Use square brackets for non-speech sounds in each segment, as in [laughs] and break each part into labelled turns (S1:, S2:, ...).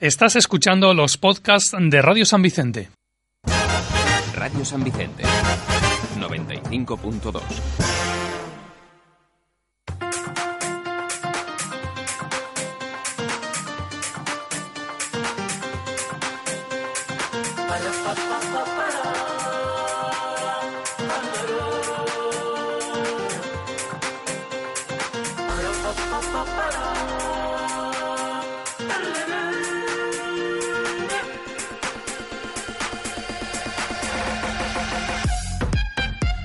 S1: Estás escuchando los podcasts de Radio San Vicente.
S2: Radio San Vicente 95.2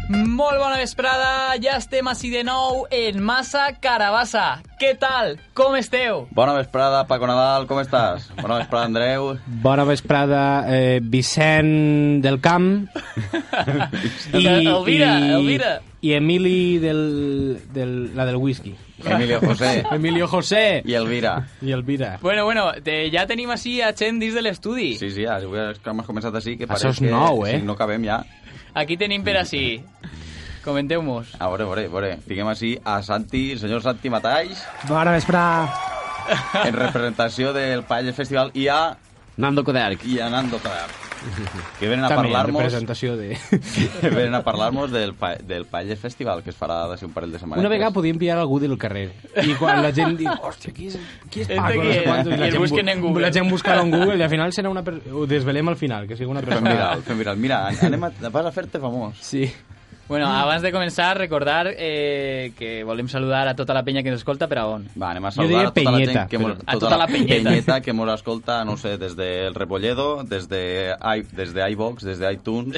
S3: Molt bona vesprada, ja estem així de nou en Massa Carabassa. Què tal? Com esteu?
S4: Bona vesprada, Paco Nadal, com estàs? Bona vesprada, Andreu.
S5: Bona vesprada, eh, Vicent del
S3: [laughs]
S5: Camp.
S3: Elvira, Elvira.
S5: I Emili del, del, la del whisky.
S4: Emilio José
S5: [laughs] Emilio José
S4: i Elvira.
S5: i Elvira.
S3: Bueno, bueno, te, ja tenim així a gent dins de l'estudi.
S4: Sí, sí, ja, avui és que hem començat així, que
S5: Això
S4: pareix
S5: és nou,
S4: que,
S5: eh?
S4: Si no acabem ja.
S3: Aquí tenim per així. Comenteu-mos.
S4: A veure, a veure, a veure. Fiquem així a Santi, senyor Santi Matalls,
S5: Bona vesprada.
S4: en representació del Paella Festival i a,
S6: Nando Coderc.
S4: i a Nando Tadar, que venen a
S5: També,
S4: parlar-nos
S5: presentació de...
S4: que [laughs] venen a parlar-nos del, pa, del Paella Festival, que es farà d'ací un parell de setmanes.
S5: Una vegada podia enviar algú del carrer. I quan la gent Ah, diu, hòstia, qui és, qui és
S3: [laughs] Este
S5: Paco?
S3: qui
S5: No sé
S3: és?
S5: quantos,
S3: I el
S5: gent bu-
S3: busquen en Google.
S5: La gent buscarà en Google i al final serà una... Per... Ho desvelem al final, que sigui una
S4: Fem
S5: persona...
S4: viral, fem viral. Mira, anem a, vas a fer-te famós.
S5: Sí.
S3: Bueno, abans de començar, recordar eh, que volem saludar a tota la penya que ens escolta per a on.
S4: Va, anem a
S5: Jo diria
S4: saludar a tota la
S5: penyeta,
S4: gent que
S5: però-
S4: mos-
S3: a tota la penyeta.
S4: penyeta que mos escolta, no ho sé, des del Repolledo, des de, i- des de iVox, des de iTunes,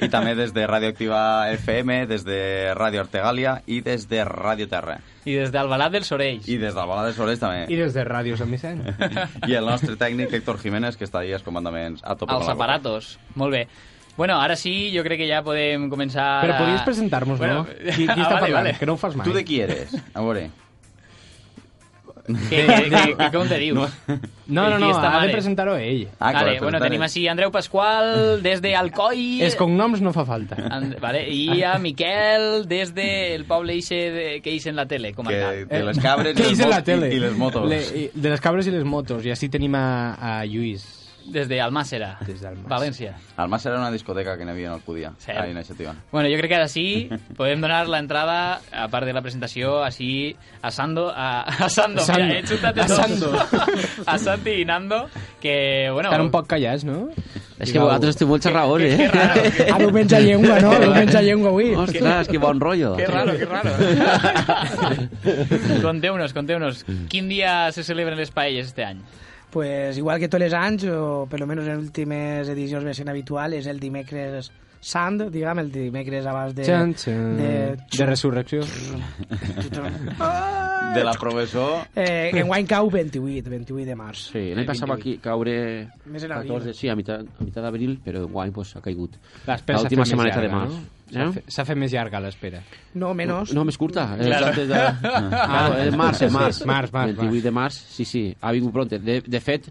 S4: i també des de Radio Activa FM, des de Radio Artegàlia i des de Radio Terra.
S3: I des d'Albalat dels Sorells.
S4: I des d'Albalà de Sores
S5: I
S4: també.
S5: des de Ràdio Sant Vicent.
S4: [laughs] I el nostre tècnic, Héctor Jiménez, que està ahí als comandaments a tope. con
S3: Els
S4: la cosa.
S3: aparatos. Molt bé. Bueno, ara sí, jo crec que ja podem començar...
S5: Però
S3: a-
S5: podies presentar-nos,
S3: Bueno,
S5: no? Qui, qui
S3: [laughs]
S5: està
S3: ah, vale,
S5: parlant?
S3: Vale.
S5: Que no ho fas mai.
S4: Tu de qui eres? A veure.
S6: [laughs]
S3: Que, que, que, que, com te dius?
S5: No, no,
S3: Qui
S5: no,
S3: està
S5: ha
S3: mare?
S5: de presentar-ho ell.
S4: Ah,
S3: eh. vale,
S4: correcte,
S3: bueno,
S4: presentaré.
S3: tenim així Andreu Pasqual, des de Alcoi.
S5: Els cognoms no fa falta.
S3: And, vale,
S5: [laughs]
S3: i Eh, a Miquel des del poble ixe de, que eix en la tele, com
S4: Que, de
S5: Eh,
S4: les
S3: [laughs]
S4: cabres
S5: que
S4: i,
S5: és
S4: les
S5: en
S4: mot-
S5: la tele.
S4: i, i les motos.
S5: Le, i, de les cabres i les motos. I així tenim a, a Lluís.
S3: Des de Almàssera,
S5: Des d'Almàssera.
S3: València.
S4: El Mas era una discoteca que n'hi havia en Alcúdia,
S3: Cert.
S4: a Iniciativa.
S3: Bueno, jo crec que ara
S5: [laughs]
S3: sí podem donar l'entrada, a part de la presentació, així a Sando... A, a Sando,
S5: Sando.
S3: mira, he xutat
S5: A
S3: dos.
S5: Sando.
S3: [laughs] a Santi i Nando, que, bueno... eh,
S5: Estan un poc callats, no?
S6: És que vosaltres esteu molt xerraors,
S3: Que, que
S6: eh?
S3: raro,
S6: [laughs]
S3: que,
S5: Ara ho menja llengua, no? Ara ho menja llengua avui.
S6: Ostres, que bon rotllo.
S3: que raro, que
S5: [laughs]
S3: raro. eh. [laughs] conteu-nos, conteu-nos. Quin dia se celebren les paelles este any?
S7: [laughs] Pues igual que tots els anys, o per lo menos en últimes edicions ben sent habitual, és el dimecres sant, diguem, el dimecres abans de...
S5: Txan, txan.
S7: de...
S5: De resurrecció.
S4: De la professor
S7: Eh, enguany cau 28, 28 de març.
S6: Sí, l'any passat va qui- caure...
S7: Més en abril.
S6: 14, sí, a mitad, a mitad d'abril, però guai, pues, ha caigut.
S5: L'espera s'ha fet
S6: L'última
S5: més
S6: setmaneta
S5: llarga,
S6: de març.
S5: no? S'ha fe- S'ha fet més llarga l'espera.
S7: No, menos.
S6: No, més curta. Claro. Antes
S5: [laughs]
S6: de...
S3: [laughs]
S5: Ah,
S6: claro, el març, el març.
S5: Sí, març, març,
S6: El 18 de març, sí, sí, ha vingut pront. De, de fet,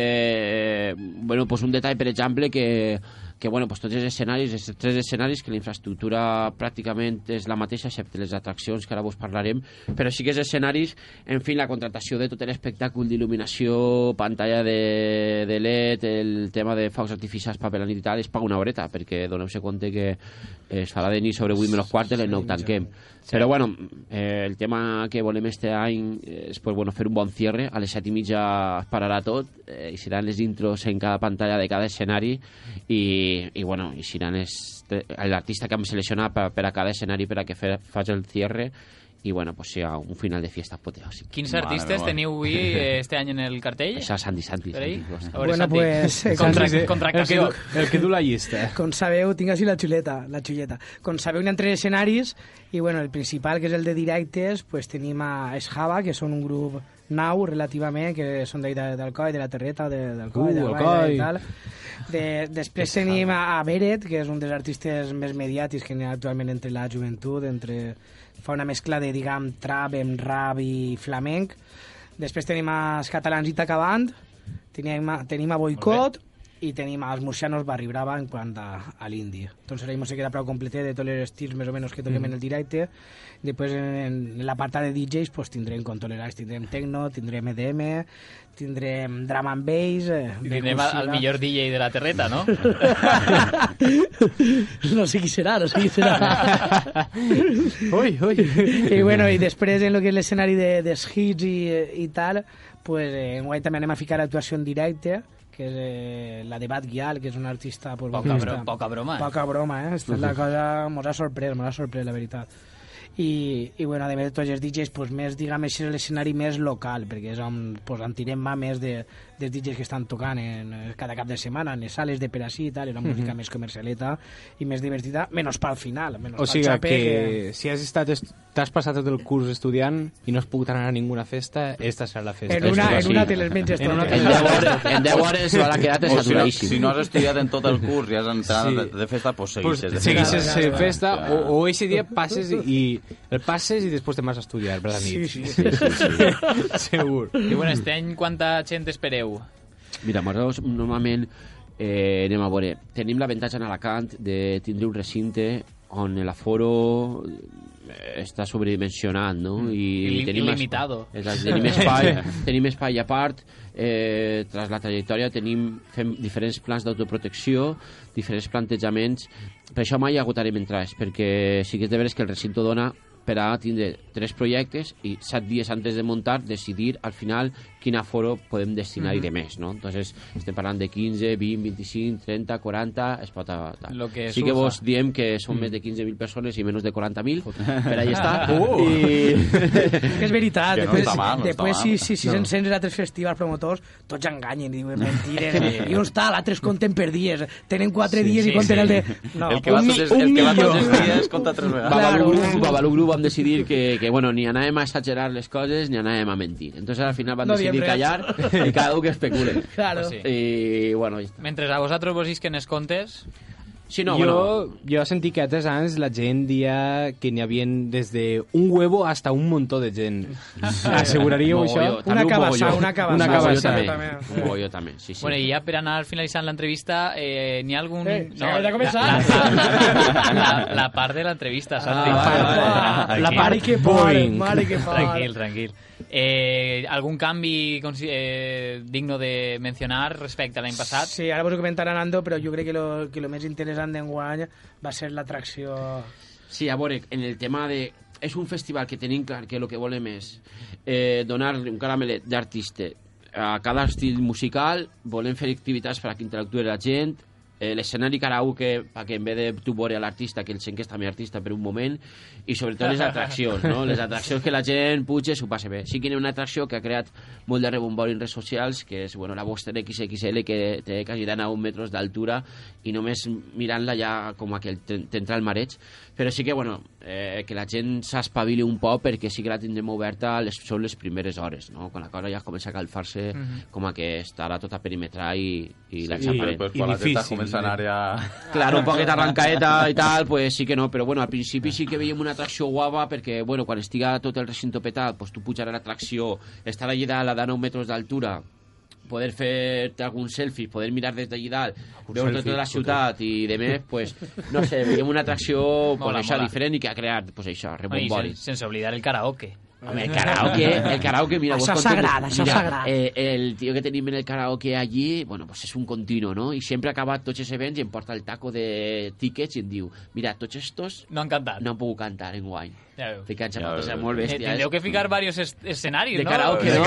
S6: eh, bueno, pues un detall, per exemple, que que bueno, pues tots els escenaris, els tres escenaris, que la infraestructura pràcticament és la mateixa, excepte les atraccions, que ara vos parlarem, però sí que els escenaris, en fi, la contractació de tot l'espectacle d'il·luminació, pantalla de, de LED, el tema de focs artificials, paper a la nit i tal, es paga una horeta, perquè doneu-se compte que es farà de nit sobre 8 menos quart, de les 9 tanquem. Però bueno, eh, el tema que volem este any eh, és pues, bueno, fer un bon cierre. A les set i mitja es pararà tot eh, i seran les intros en cada pantalla de cada escenari i, i bueno, i seran l'artista que hem seleccionat per, per a cada escenari per a que fer, faci el cierre i bueno, pues sigui un final de fiesta apoteòsic.
S3: Quins
S4: Mare
S3: artistes
S4: meva.
S3: teniu avui eh, este any en el cartell?
S6: Això és Santi, Santi.
S3: Per ahí?
S6: Santi Costa.
S3: A veure,
S7: Bueno,
S3: Santi,
S7: pues,
S5: [laughs]
S7: eh,
S3: contra-
S5: El que-
S3: contractació.
S5: El que, du, el que du la
S7: [laughs]
S5: llista.
S7: Com sabeu, tinc així la xuleta, la xuleta. Com sabeu, hi ha tres escenaris i, bueno, el principal, que és el de directes, pues tenim a Esjava, que són un grup nou relativament, que són d'ahir de- d'Alcoi, de la Terreta, de, d'Alcoi,
S5: Uh,
S7: de
S5: Alcoi.
S7: i tal. De, després tenim a, a Beret, que és un dels artistes més mediàtics que n'hi ha actualment entre la joventut, entre fa una mescla de, diguem, trap, amb rap i flamenc. Després tenim els catalans Itaca Band, tenim a, tenim a Boicot, i tenim els murcianos Barri Brava en quant a, a Doncs l'indi. Entonces ahí se queda prou completet de tots els estils més o menys que
S3: Mm.
S7: toquem en el directe. Després en, en l'apartat de DJs pues, tindrem con tolerance, tindrem techno, tindrem EDM, tindrem drum and bass... Eh,
S3: I tindrem
S7: percussiva.
S3: al
S7: [laughs]
S3: millor DJ de la terreta, no?
S7: no sé qui serà, no sé qui serà.
S5: Ui,
S7: [laughs]
S5: ui.
S7: I bueno, i després en lo que és l'escenari de, dels hits i, i tal, pues, eh, enguany també anem a ficar actuació en directe, que és eh, la de Bad Gyal, que és una artista... Pues,
S3: Poca
S7: vocalista.
S3: bro- poca broma, eh?
S7: Poca broma, eh? Esta és la cosa... Mos ha sorprès, mos ha sorprès, la veritat. I, i bueno, a més de tots els DJs, pues, més, diguem, això és l'escenari més local, perquè és on, pues, on tirem mà més de, dels DJs que estan tocant en, eh, cada cap de setmana, en les sales de per ací i tal, és una música més comercialeta i més divertida, menys pel final, menys
S5: O
S7: pel
S5: sigui
S7: xape,
S5: que si has estat est- t'has passat tot el curs estudiant i no has pogut anar a ninguna festa, esta serà la festa.
S7: En una, en
S5: Sí.
S7: una te les menges
S5: En una
S7: totes.
S5: te
S6: En 10 hores, en 10 hores se van a quedar
S4: O si, no,
S6: saturadíssim.
S4: si no has estudiat en tot el curs i has entrat
S5: Sí.
S4: de, de festa, pues
S5: Pues,
S4: seguixes. de
S5: seguixes
S4: festa.
S5: festa, festa
S4: Clar.
S5: o, o ese dia passes i el passes i després te vas a estudiar per la nit. Sí, [laughs] sí, sí. Segur.
S3: I bueno, este any quanta gent espereu?
S6: Mira, nosaltres normalment eh, anem a veure. Tenim l'avantatge en Alacant de tindre un recinte on l'aforo eh, està sobredimensionat, no? I,
S3: Il-
S6: tenim es-
S3: il·limitado.
S6: Exacte, tenim espai, tenim espai a part, eh, tras la trajectòria tenim, fem diferents plans d'autoprotecció, diferents plantejaments, per això mai agotarem entrades, perquè sí que és de veres que el recinte dona per a tindre tres projectes i set dies antes de muntar decidir al final quin aforo podem destinar i de més, no? Entonces, estem parlant de 15, 20, 25, 30, 40, es pot... adaptar.
S3: Lo que
S6: sí que
S3: surja.
S6: vos diem que
S7: Mm.
S6: són més de 15.000 persones i menys de 40.000, per ahí està.
S7: [laughs]
S6: I...
S7: Que Uh! és veritat,
S4: Que no
S7: Ah, després,
S4: està mal, no està
S7: després
S4: mal.
S7: si, si, si no. se'n sents altres festivals promotors, tots enganyen i diuen mentiren, i uns tal, altres compten per dies, tenen quatre dies
S3: sí,
S7: i compten
S3: sí.
S7: el de... No,
S4: el que va
S7: un,
S4: tots
S7: mi-
S4: els,
S7: un
S4: el que va
S7: milió.
S4: tots els dies compta tres vegades.
S6: Babalú,
S7: Claro.
S6: Group, Babalú Group vam decidir que, que bueno, ni anàvem a exagerar les coses ni anàvem a mentir. Entonces al final van
S7: No diem
S6: decidir
S7: res.
S6: callar i cada un que especule.
S7: [laughs] Claro.
S3: Pues sí.
S6: I bueno, ja està.
S3: Mentre a vosaltres vos isquen els contes,
S6: sí, no,
S5: jo,
S6: bueno,
S5: jo sentí que altres anys la gent dia que n'hi havia des de un huevo hasta un muntó de gent. Asseguraríeu
S6: mogolló,
S5: això?
S6: també un
S7: cabassà,
S6: mogolló.
S7: una cabassà.
S5: Una
S6: Un mogolló
S5: cabassà.
S6: també. Un mogolló també, sí, sí.
S3: Bueno, i ja per anar finalitzant l'entrevista, eh, n'hi ha algun...
S7: Eh, s'acaba de començar?
S3: La, la,
S7: [laughs]
S3: la, la part de l'entrevista, Santi.
S7: Ah, vale, vale.
S3: Tranquil,
S7: La mare que por, mare que por.
S3: Tranquil, tranquil. Eh, algun canvi consi- eh, digno de mencionar respecte a l'any passat?
S7: Sí, ara vos ho comentaran Ando, però jo crec que lo, que lo més interessant d'enguany va ser l'atracció...
S6: Sí, a veure, en el tema de... És un festival que tenim clar que el que volem és eh, donar-li un caramelet d'artista a cada estil musical, volem fer activitats per a que interactue la gent, eh, l'escenari karaoke perquè en vez de tu veure l'artista que el sent que és també artista per un moment i sobretot les atraccions, no? les atraccions que la gent puja s'ho passa bé sí que hi ha una atracció que ha creat molt de rebombori en redes socials que és bueno, la Boster XXL que té quasi 9 metres d'altura i només mirant-la ja com a que el- t'entra el mareig però sí que bueno, eh, que la gent s'espavili un poc perquè sí que la tindrem oberta a les, són les primeres hores no? quan la cosa ja comença a calfar-se com a que estarà tota perimetral i, i
S4: Però,
S6: l'enxamparem
S4: pues,
S5: I
S4: quan la gent
S5: difícil,
S4: comença a anar ja...
S6: Claro, un poquet
S4: [laughs]
S6: arrancaeta i tal, pues sí que no, però bueno, al principi sí que veiem una atracció guapa perquè, bueno, quan estiga tot el recinte petat, pues tu pujaràs a l'atracció, estar allà dalt a 19 metres d'altura, poder fer-te algun selfie, poder mirar des d'allà dalt, veure
S5: selfie,
S6: tota la
S5: fotre.
S6: ciutat i de més, pues, no sé, veiem una atracció pues,
S3: Mola,
S6: això,
S3: mola.
S6: diferent i que ha creat, pues això,
S3: Bueno, i sen,
S6: rebomboris.
S3: sense oblidar el karaoke.
S6: Home, el karaoke, el karaoke, mira...
S7: Això
S6: vos
S7: és
S6: conto-
S7: sagrat, això és
S6: mira,
S7: sagrat.
S6: Eh, el tio que tenim en el karaoke allí, bueno, pues és un continu, no? I sempre acaba tots els events i em porta el taco de tíquets i em diu, mira, tots estos
S3: No han cantat.
S6: no han pogut cantar en guany.
S3: Ja veus.
S6: Te cansa
S4: Ja
S6: ja,
S4: veus.
S6: molt
S3: Eh,
S6: bèstia.
S3: tindreu que ficar diversos es escenaris,
S6: De
S3: no?
S6: karaoke, no?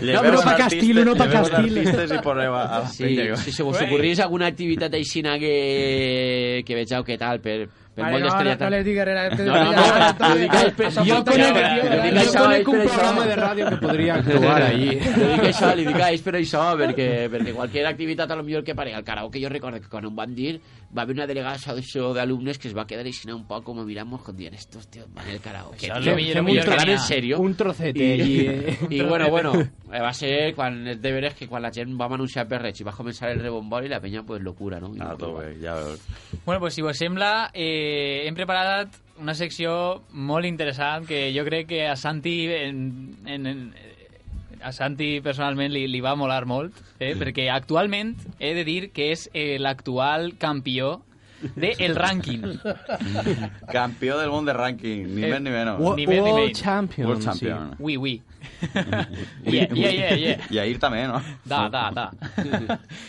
S4: Lleveu
S7: però pa
S4: artistes-
S7: Castil, no pa
S4: lleveu
S7: Castil.
S4: artistes i poseu a... a-
S6: Sí, si se vos ocorrís alguna activitat aixina que, que vegeu què tal per, Per
S7: Vale,
S6: molt
S7: no, no,
S6: d'estrella...
S7: no les digues res.
S6: No, no, no, jo dic- jo conec- jo dic
S5: jo
S6: això,
S5: conec
S6: espera,
S5: un
S6: això.
S5: programa de ràdio que podria actuar allí.
S6: Li dic això, li dic, ah, és per això, perquè, perquè qualsevol activitat a lo millor que parega al karaoke, jo recordo que quan em van dir, va haver una delegació d'alumnes que es va quedar així un poc com miramos con dient, estos tíos van al karaoke.
S3: Això és
S6: tio,
S3: lo millor,
S6: fem
S3: lo
S6: un
S3: millor que
S6: tro-
S3: hi ha.
S6: en serio.
S5: Un trocete
S6: I,
S5: allí,
S6: i, [laughs]
S5: eh?
S6: i bueno, bueno, eh, va ser quan els deberes que quan la gent vam anunciar per Reig i va començar el rebombori, la penya, pues, locura, no? I
S4: A
S6: locura.
S4: tope, ja veus.
S3: Bueno, pues si vos sembla, eh, hem preparat una secció molt interessant que jo crec que a Santi, en, en, en, eh, a Santi personalment li, li va molar molt, eh? perquè actualment he de dir que és eh, l'actual campió del el rànquing.
S4: Campió del mundo de ranking, ni
S3: Eh,
S4: más ni menos.
S3: Wo- Ni més ni
S5: World
S3: menys.
S5: Champion.
S4: World
S5: sí.
S4: Champion.
S3: Oui, oui. Yeah, yeah, yeah, yeah.
S4: Y ahí también, ¿no?
S3: Da, da,
S4: [laughs]
S3: da.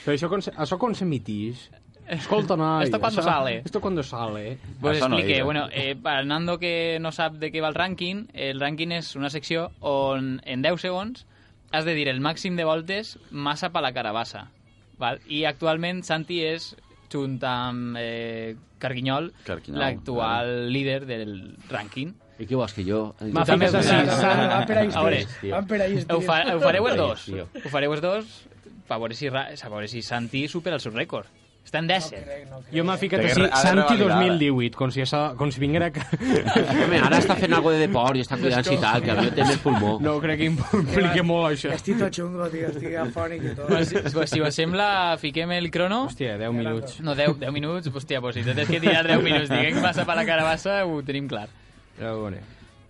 S5: Però això, com se- això com s'emitix? Escolta, noi.
S3: Esto cuando
S5: això-
S3: sale.
S5: Esto cuando sale.
S3: Pues
S4: Això no
S3: explique,
S4: diga.
S3: bueno, eh, para Nando que no sap de què va el rànquing, el rànquing és una secció on en 10 segons has de dir el màxim de voltes massa per la carabassa. Val? I actualment Santi és, junt amb eh, Carguinyol,
S4: Carguinyol,
S3: l'actual líder del rànquing.
S6: I què vols, que jo...
S7: M'ha fet així, Sam, va per ahí,
S3: A veure,
S7: tio. Va per ahí,
S3: Ho,
S7: tio.
S3: fa, ho fareu els dos.
S6: Tio.
S3: Ho fareu els dos a veure si, ra- a veure si Santi supera el seu rècord. Està en 10.
S5: Jo m'ha ficat
S4: Té que
S5: així,
S4: re- ha de
S5: Santi
S4: revalidar, eh?
S5: 2018, com si, això, com si vinguera...
S6: Home, ara està fent algo de deport i està cuidant-se i tal, que a mi té més pulmó.
S5: No, crec que implica molt això.
S7: Estic tot xungo, tio, estic afònic i tot.
S3: Pues, pues, si us sembla, fiquem el crono.
S5: Hòstia, 10 minuts.
S3: No, 10, 10 minuts, hòstia, pues si tens que tirar 10 minuts, diguem que passa per la carabassa, ho tenim clar.
S5: Però, bueno.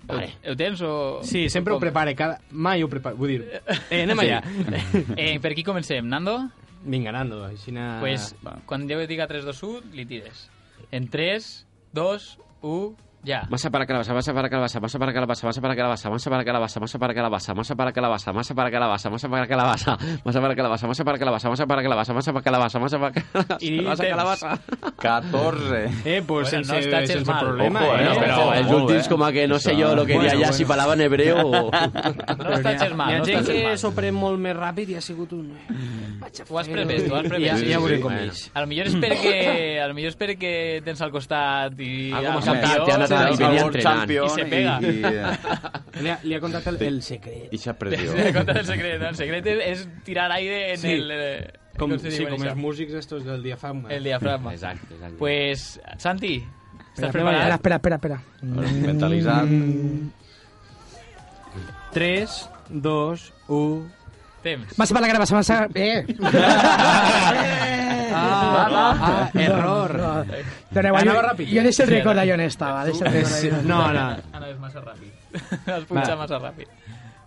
S3: Vale. Ho, ho tens o...?
S5: Sí, sempre ho
S3: com?
S5: prepare, cada... mai ho prepare, vull dir... Eh, anem allà.
S3: [laughs] Eh, per qui comencem? Nando?
S5: Vinga, Nando, així
S3: Ah,
S5: na...
S3: pues,
S4: va.
S3: quan jo diga 3, 2, 1, li tires. En 3, 2, 1, ja.
S6: Masa para calabaza, masa para calabaza, masa para calabaza, masa para calabaza, masa para calabaza, masa para calabaza, masa para calabaza, masa para calabaza, masa para calabaza, masa para calabaza, masa para calabaza, masa para calabaza, masa para calabaza, masa para calabaza,
S3: [laughs] I
S6: masa
S3: temps.
S6: calabaza.
S4: 14.
S5: Eh, pues
S3: Bueno,
S5: sense,
S3: no està gens
S5: sense
S3: mal.
S5: problema,
S4: Ojo,
S5: eh?
S4: eh, però-
S5: Però...
S6: els
S4: molt
S6: últims
S4: bé.
S6: com a que no sé
S4: Això.
S6: jo lo que
S5: Bueno,
S6: dia ja
S5: bueno.
S6: si parlava en hebreu o...
S3: No està gens mal,
S5: Hi ha
S3: no està
S5: gent
S3: gens
S5: que
S3: mal.
S5: s'ho pren molt més ràpid i ha sigut un...
S3: Ho has previst, ho has previst.
S5: Ja,
S3: Sí,
S5: ja
S3: sí,
S5: veurem
S4: sí.
S5: com
S4: Bueno.
S5: és.
S3: A lo millor és perquè, a lo millor és perquè tens al costat i...
S6: Algo
S3: al
S6: m'ha
S3: campió,
S6: saltat, t'han anat
S3: saps?
S6: i venia
S4: World
S6: entrenant.
S4: Champion
S3: I se pega.
S4: Y, [laughs]
S5: Li ha, li ha contat el, el
S3: [laughs]
S5: secret.
S4: y- y se ha perdido.
S3: Te contaré el secret, ¿no? El secret es, es tirar aire en
S5: Sí.
S3: el... eh,
S5: Com,
S3: no sé si
S5: sí,
S3: bueno,
S5: com
S3: això.
S5: els músics estos del diafragma.
S3: El diafragma.
S6: Exacte, exacte.
S3: Pues, Santi, ¿estás
S7: Espera,
S3: preparado?
S7: espera, espera, Mm. espera.
S4: Mentalizant.
S5: 3, 2, 1...
S3: Temps.
S7: Massa per la grava, massa... Eh!
S5: Ah, ah, error.
S7: No, no. Doneu,
S5: Anava
S7: jo,
S5: ràpid.
S7: jo deixo el record allà on estava. Deixo el record
S5: És,
S7: allà on
S5: no, no.
S3: Ana es más rápido. Has punxat
S5: Va.
S3: massa ràpid.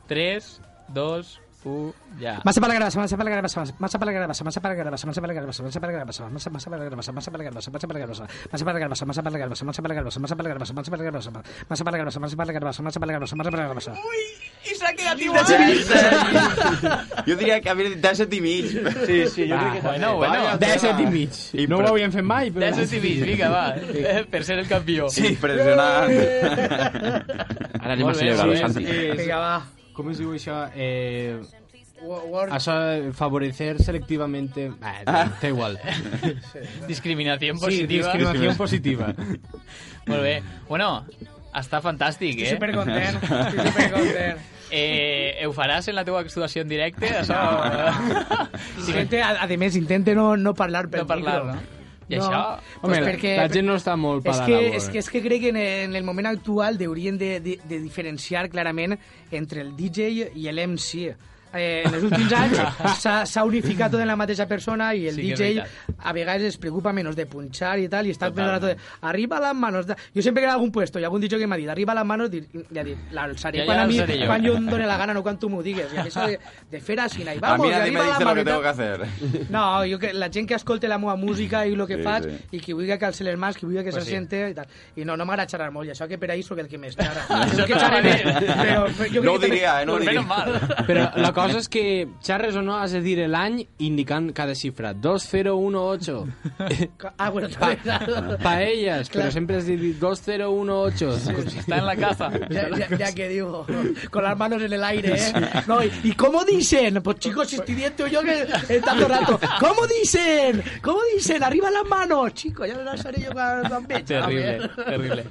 S3: 3, 2, 1, ya.
S7: Massa per la grava, massa per la grava, massa per la grava, massa per la grava, massa per la grava, massa per la grava, massa massa per la grava, massa per la grava, massa per la grava, massa per la grava, massa per la grava, massa per la grava, massa per la grava, massa per la grava, massa per la grava, massa per la grava, massa per la grava, massa per la grava. [laughs]
S4: Yo diría que haber de ese timid.
S5: Sí, sí, jo crec
S3: Ah, Bueno, bueno.
S5: 10 set i mig.
S4: I
S5: No
S4: pre-
S5: ho havíem fet mai, però...
S3: Dance TV, vinga, va. [laughs] Eh, Per ser el campió.
S4: Impresionante.
S6: Ara anem a
S3: Molt bé,
S6: celebrar-ho,
S3: molt
S6: Santi.
S7: Vinga, va.
S5: Com es diu això? Eh... Això, eh, favorecer selectivamente... Ah, no, té igual.
S7: [laughs]
S3: Discriminación
S5: Sí,
S3: positiva.
S5: discriminació positiva.
S3: Molt bé. Bueno, està fantàstic, eh?
S7: supercontent, estic supercontent.
S3: [laughs] Eh, ho faràs en la teva actuació en directe? Això...
S7: Intente, a, a més, intente no, no parlar pel
S3: No parlar,
S7: micro.
S3: no? I això?
S7: Pues
S5: Home,
S7: perquè-
S5: la gent no està molt
S7: És
S5: per la
S7: que,
S5: labor.
S7: és,
S3: eh.
S7: que, és que crec que en, en el moment actual deurien de, de, de diferenciar clarament entre el DJ i l'MC. Eh, en els
S3: [laughs]
S7: últims anys s'ha- s'ha unificat tot en la mateixa persona i el
S3: Sí, que és
S7: DJ
S3: veritat.
S7: a vegades es preocupa menys de punxar i tal i està pensant a tot
S3: Totalment.
S7: de, arriba les manos de... jo sempre que he anat a algun puesto hi ha algun DJ que m'ha dit arriba les manos di- li ha dit l'alçaré
S3: Ja, ja
S7: quan a mi
S3: l'alçaré jo."
S7: quan jo em doni la gana no quan tu m'ho digues i a més de, de fer així i
S4: A
S7: vamos i
S4: mí nadie
S7: arriba
S4: me
S7: les
S4: dice lo
S7: manos
S4: que
S7: i tal.
S4: tengo que hacer.
S5: [laughs]
S7: No, jo que la gent que escolta la meva música i el que
S4: Sí,
S7: sí, faig
S4: sí.
S7: i qui vulgui que els les mans, qui vulgui que pues se siente i tal. I no, no m'agrada xerrar molt, i això
S3: [laughs]
S7: que per ahí sóc el que més xerra. Segur que xerré més, però, però jo
S4: No ho
S7: crec que també-
S4: diría, eh, no ho
S3: Pues
S4: diría.
S3: menos mal.
S5: Però la Coses que xerres o no has de dir l'any indicant cada xifra. 2018.
S7: [laughs] Ah, bueno,
S5: Pa
S7: també, [laughs] claro.
S5: paelles, però sempre has de dir 2018.
S3: Está en la caza.
S7: Ya, ya- ya que digo, con las manos en el aire, ¿eh? No, y, y cómo dicen? Pues chicos, si estoy viendo yo que eh, tanto rato. ¿Cómo dicen? ¿Cómo dicen? Arriba las manos, chicos, ya me las haré yo con las pechas,
S3: [laughs] Terrible,
S7: también.
S3: terrible.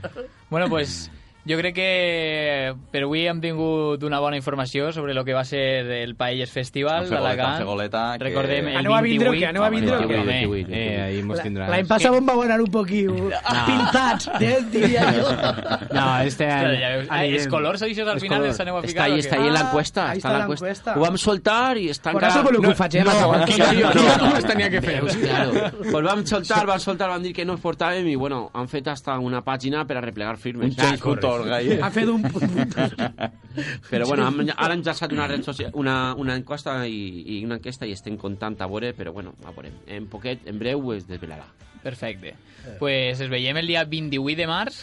S3: Bueno, pues jo crec que per avui hem tingut una bona informació sobre el que va ser el Paelles Festival
S4: Vam fer goleta,
S3: d'Alacant.
S4: vam fer goleta, que-
S3: Recordem el
S7: Aneu a Ah, vindre o
S3: 28.
S7: què? Aneu a vindre o què?
S3: Home,
S6: Vindre, vindre,
S3: eh,
S5: Eh, ahí mos tindràs.
S7: L'any passat em va guanyar un poquillo pintats, eh,
S3: [laughs]
S7: diria jo.
S5: No, este
S3: Ostres,
S5: any...
S3: ja veus, ah,
S5: anirem.
S3: els colors d'això al
S5: Els
S3: final
S5: colors.
S3: els aneu a
S6: Està
S3: ficar.
S6: ahí,
S3: o
S6: està
S3: què?
S6: ahí en
S7: Ah,
S6: l'encuesta.
S7: ahí
S6: Està
S7: està
S6: en l'encuesta.
S7: l'encuesta.
S6: Ho vam soltar i està
S7: Por eso con lo que ho faig, eh, m'acabo.
S5: tenia
S7: [laughs]
S5: que fer.
S6: Veus, claro. Pues vam soltar, vam soltar, vam dir que no es portàvem i, bueno, han fet hasta una pàgina per a replegar firmes.
S4: Un James Coutor, gai.
S7: Ha fet un... [laughs]
S6: Però, bueno, han, ara han llançat una, red social, una, una enquesta i, i una enquesta i estem comptant a veure, però, bueno, a veure. En poquet, en breu, es desvelarà.
S3: Perfecte.
S5: Eh.
S3: Pues ens veiem el dia 28 de març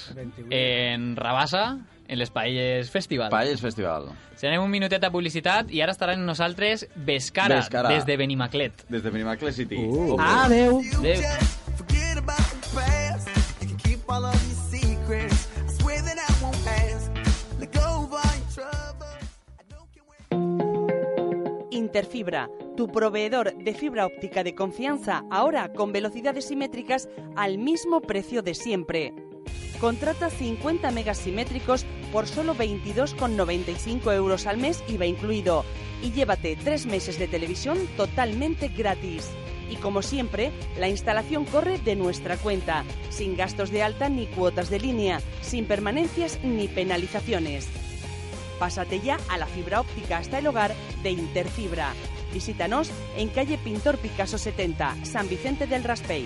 S3: en Rabassa, en les Paelles Festival.
S4: Paelles Festival.
S3: Si anem un minutet de publicitat i ara estaran amb nosaltres Vescara,
S4: Vescara.
S3: des de Benimaclet. Ah,
S4: Des de Minimacle City.
S5: Uh.
S7: Adeu.
S3: Adéu.
S8: Forget about the past. You can keep all of your secrets. I swear that I won't pass. Let go of all your troubles. I don't care where.
S9: Interfibra, tu proveedor de fibra óptica de confianza, ahora con velocidades simétricas al mismo precio de siempre. Contrata 50 megas simétricos por solo 22,95 euros al mes IVA incluido y llévate tres meses de televisión totalmente gratis. Y como siempre, la instalación corre de nuestra cuenta, sin gastos de alta ni cuotas de línea, sin permanencias ni penalizaciones. Pásate ya a la fibra óptica hasta el hogar de Interfibra. Visítanos en calle Pintor Picasso 70, San Vicente del Raspey.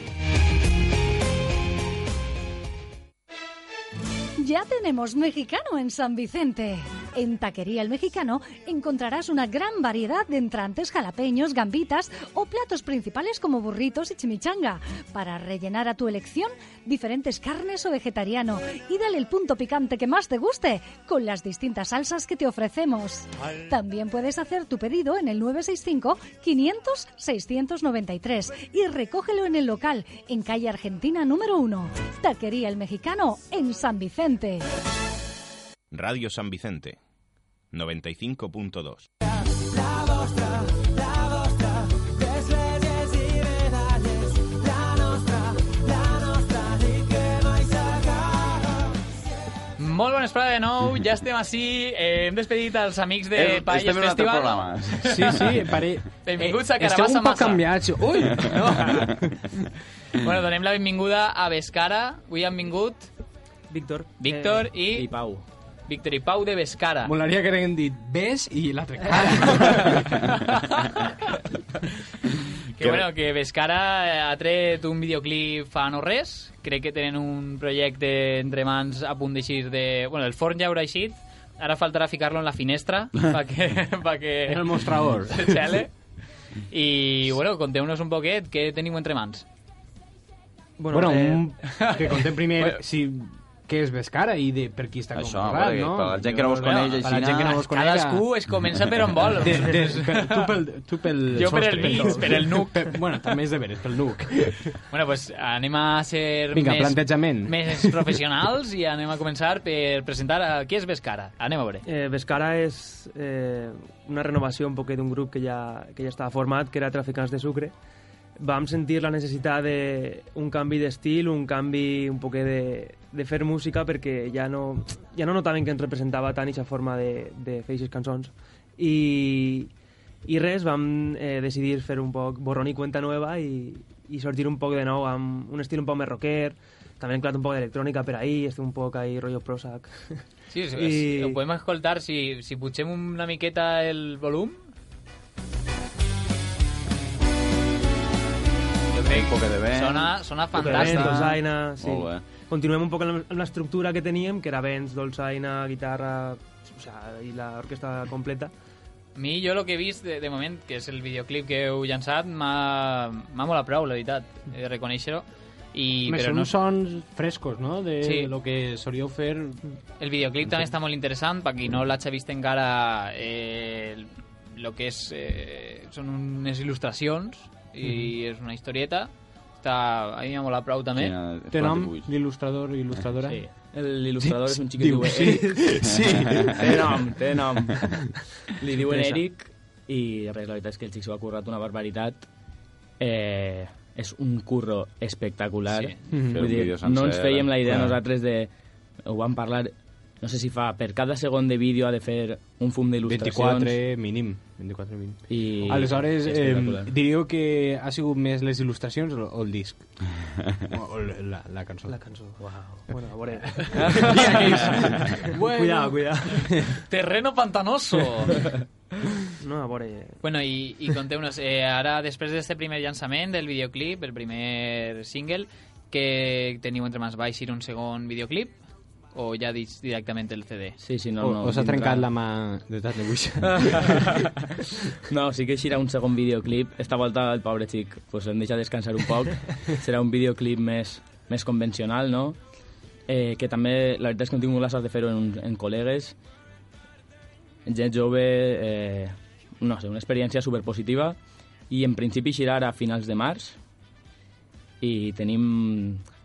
S10: Ya tenemos mexicano en San Vicente. En Taquería El Mexicano encontrarás una gran variedad de entrantes jalapeños, gambitas o platos principales como burritos y chimichanga para rellenar a tu elección diferentes carnes o vegetariano y dale el punto picante que más te guste con las distintas salsas que te ofrecemos. También puedes hacer tu pedido en el 965 500 693 y recógelo en el local en calle Argentina número 1. Taquería El Mexicano en San Vicente.
S11: Radio San Vicente, 95.2.
S3: Molt bona esperada de nou, ja estem així, eh, hem despedit els amics de
S4: Eh,
S3: Paelles
S4: estem en un altre
S3: Festival.
S4: programa.
S5: Sí, sí, pare... eh,
S3: Benvinguts a
S5: Esteu
S3: Carabassa
S5: un poc
S3: Massa.
S5: canviats. Ui!
S3: [laughs] Bueno, donem la benvinguda a Vescara, avui han vingut
S7: Víctor.
S3: Víctor i,
S5: Eh, I Pau.
S3: Víctor i Pau de Vescara.
S5: Molaria que haguem dit ves i [laughs] l'altre cara.
S3: Que bueno, que Vescara ha tret un videoclip fa no res, crec que tenen un projecte entre mans a punt d'eixir de... Bueno, el forn ja haurà eixit, ara faltarà ficar-lo en
S5: [laughs]
S3: la finestra perquè... pa que...
S5: el mostrador.
S3: Xale. I, bueno, conteu-nos un poquet què teniu entre mans.
S5: Bueno, un... [laughs] que contem primer si què és Vescara i de per qui està
S4: Això,
S5: convocat,
S4: perquè
S5: no?
S4: per la gent que no vos
S5: Bueno,
S4: coneix,
S5: Per la
S4: així,
S5: gent que no vos coneix...
S3: Cadascú es comença per on
S5: [laughs]
S3: vol.
S5: De,
S3: [laughs]
S5: de, per, tu, pel, tu pel
S3: Jo per el
S5: sostre,
S3: mig,
S5: tot.
S3: per el nuc.
S5: Per, bueno, també és de veres, pel nuc.
S3: Bueno, pues anem a ser
S5: Vinga,
S3: més,
S5: plantejament.
S3: més professionals i anem a començar per presentar a qui és Vescara. Anem a veure.
S10: Eh, Vescara es eh, una renovació un poquet d'un grup que ja, que ja estava format, que era Traficants de Sucre. Vam sentir la necessitat d'un canvi d'estil, un canvi un poquet de, de fer música, perquè ja no, ja no notaven que ens representava tant aquesta forma de, de fer aquestes cançons. I, i res, vam eh, decidir fer un poc borrón i cuenta nova i, i sortir un poc de nou amb un estil un poc més rocker, també hem clat un poc d'electrònica per ahí, estic un poc ahí rollo Prozac.
S3: Sí, sí,
S10: [laughs] I-
S3: I... ho podem escoltar si, si pugem una miqueta el volum.
S4: Jo crec que de bé.
S3: Sona, sona
S10: Dolç,
S3: fantàstic.
S10: dolçaina, sí.
S4: Molt bé.
S10: Continuem un poc amb l'estructura que teníem, que era vents, dolçaina, guitarra, o sea, i l'orquestra completa.
S3: A mi, jo el que he vist de, de moment, que és el videoclip que heu llançat, m'ha m'ha molat prou, la veritat, he de reconèixer-ho. I,
S5: Més
S3: però
S5: no...
S3: no,
S5: sons frescos, no? De
S3: Sí.
S5: lo que solíeu fer...
S3: El videoclip també està molt interessant, per qui no l'hagi vist encara eh, lo que és, eh, són unes il·lustracions i és una historieta. Està, a mi m'ha molat prou també.
S5: Té nom d'il·lustrador i il·lustradora?
S3: Sí.
S12: L'il·lustrador és un xic que
S5: Diu,
S12: diu...
S5: sí. [laughs]
S12: "Eh,
S3: [laughs]
S5: Sí.
S12: Té nom, té
S4: [laughs]
S12: nom. Li diuen
S5: Teresa.
S12: Eric i res, la veritat és que el xic s'ho ha currat una barbaritat. Eh, és un curro espectacular.
S3: Sí.
S12: Vull
S4: Fer un
S12: dir,
S4: vídeo
S12: no ens
S4: sencer, eh?
S12: fèiem la idea
S4: clar.
S12: nosaltres de... Ho vam parlar, no sé si fa, per cada segon de vídeo ha de fer un fum d'il·lustracions.
S5: 24 mínim. 24 mínim.
S12: I
S5: Aleshores, eh,
S12: espectacular.
S5: diríeu que ha sigut més les il·lustracions o, o el disc? O, [laughs] o la, la cançó.
S13: La cançó.
S5: [laughs]
S13: Wow. Bueno, a veure. [laughs]
S3: Bueno.
S13: Cuidado, cuidado.
S3: Terreno pantanoso.
S13: No, a veure...
S3: Bueno, i, i conteu-nos, eh, ara després d'aquest primer llançament del videoclip, el primer single, que teniu entre mans, va eixir un segon videoclip? O ja dis directament el CD?
S12: Sí, sí, no,
S5: O-
S12: no.
S5: us ha trencat
S12: tindrà.
S5: la mà de tant de buix. [laughs]
S12: [laughs] no, sí que eixirà un segon videoclip. Esta volta el pobre xic pues, el deixa descansar un poc. Serà un videoclip més, més convencional, no? Eh, que també, la veritat és que hem tingut la sort de fer-ho en, un- en col·legues. Gent jove, eh, no sé, una experiència superpositiva. I en principi eixirà ara a finals de març. I tenim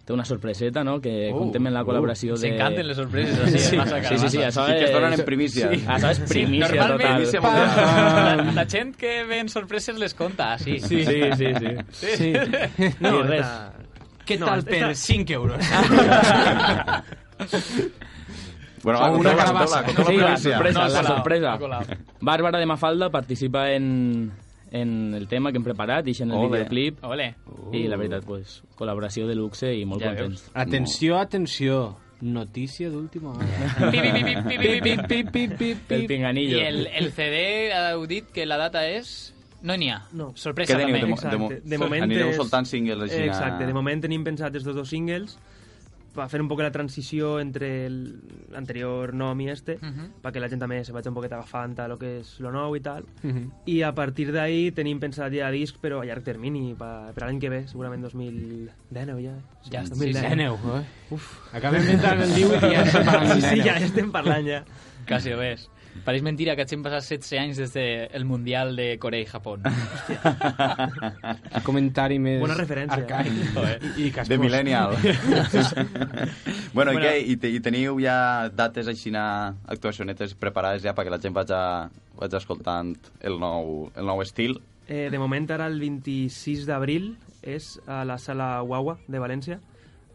S12: té una sorpreseta, no?, que
S3: Uh,
S12: eh, contem en la
S3: uh,
S12: colaboració de...
S3: s'encanten les sorpreses, així,
S12: sí,
S3: massa
S12: sí, sí,
S3: calabassa.
S12: això
S3: Sí, que es
S12: és-
S3: donen en primícia.
S12: Sí, això és primícia
S3: sí, normalment,
S12: total. Ah.
S3: primícia mundial. la, la gent que ven sorpreses les conta, sí.
S12: Sí, sí, sí. sí.
S3: Sí.
S12: [laughs]
S3: Ah,
S12: No,
S13: No,
S12: res.
S13: esta-
S12: Què
S13: no,
S12: tal
S13: esta-
S12: per cinc euros? [laughs]
S4: Bueno, va, conteu-la, conteu-la, conteu-la
S12: Sí, la
S4: primícia.
S12: sorpresa,
S4: No,
S12: la
S4: colado,
S12: sorpresa.
S4: colado.
S12: Bàrbara de Mafalda participa en, en el tema que hem preparat, i en el
S5: Ole.
S12: videoclip.
S3: Ole.
S12: I la veritat, pues, col·laboració de luxe i molt
S5: Ja
S12: contents.
S5: Atenció, atenció. Notícia d'última [laughs] hora.
S3: Pi, pi, pi, pi, pi, pi, pi.
S12: El pinganillo.
S3: I el, el CD, heu dit que la data és... No n'hi ha. No. Sorpresa
S4: Què teniu?
S3: també.
S4: De mo-
S13: Exacte.
S4: de mo-
S13: de moment
S4: anireu
S13: és-
S4: soltant singles així,
S13: Exacte,
S4: a-
S13: de moment tenim pensat els dos dos singles per fer un poc la transició entre el- l'anterior nom i este,
S3: Mhm.
S13: perquè la gent també se vagi un poquet agafant a lo que és lo nou i tal.
S5: Mhm.
S13: I a partir d'ahí tenim pensat ja disc, però a llarg termini, pa- per a l'any que ve, segurament 2019 ja.
S5: Ja, sí,
S13: 2019.
S5: sí. Uf. Acabem d'entrar en el 18 i
S13: [laughs]
S5: ja estem parlant del
S13: Sí, sí,
S5: neno.
S13: ja estem parlant ja.
S3: Quasi res. Pareix mentira que et hem passat 16 anys des del de Mundial de Corea i Japó.
S5: Comentari més...
S3: Bona referència.
S5: Arcaic. I, i cascós.
S4: De
S5: [laughs]
S4: millennial.
S3: [laughs]
S4: bueno, i
S5: Bueno.
S4: què? I, te, I teniu ja dates així, na- actuacionetes preparades ja perquè la gent vaja, vaja escoltant el nou, el nou estil?
S13: Eh, de moment ara el 26 d'abril és a la sala Guagua de València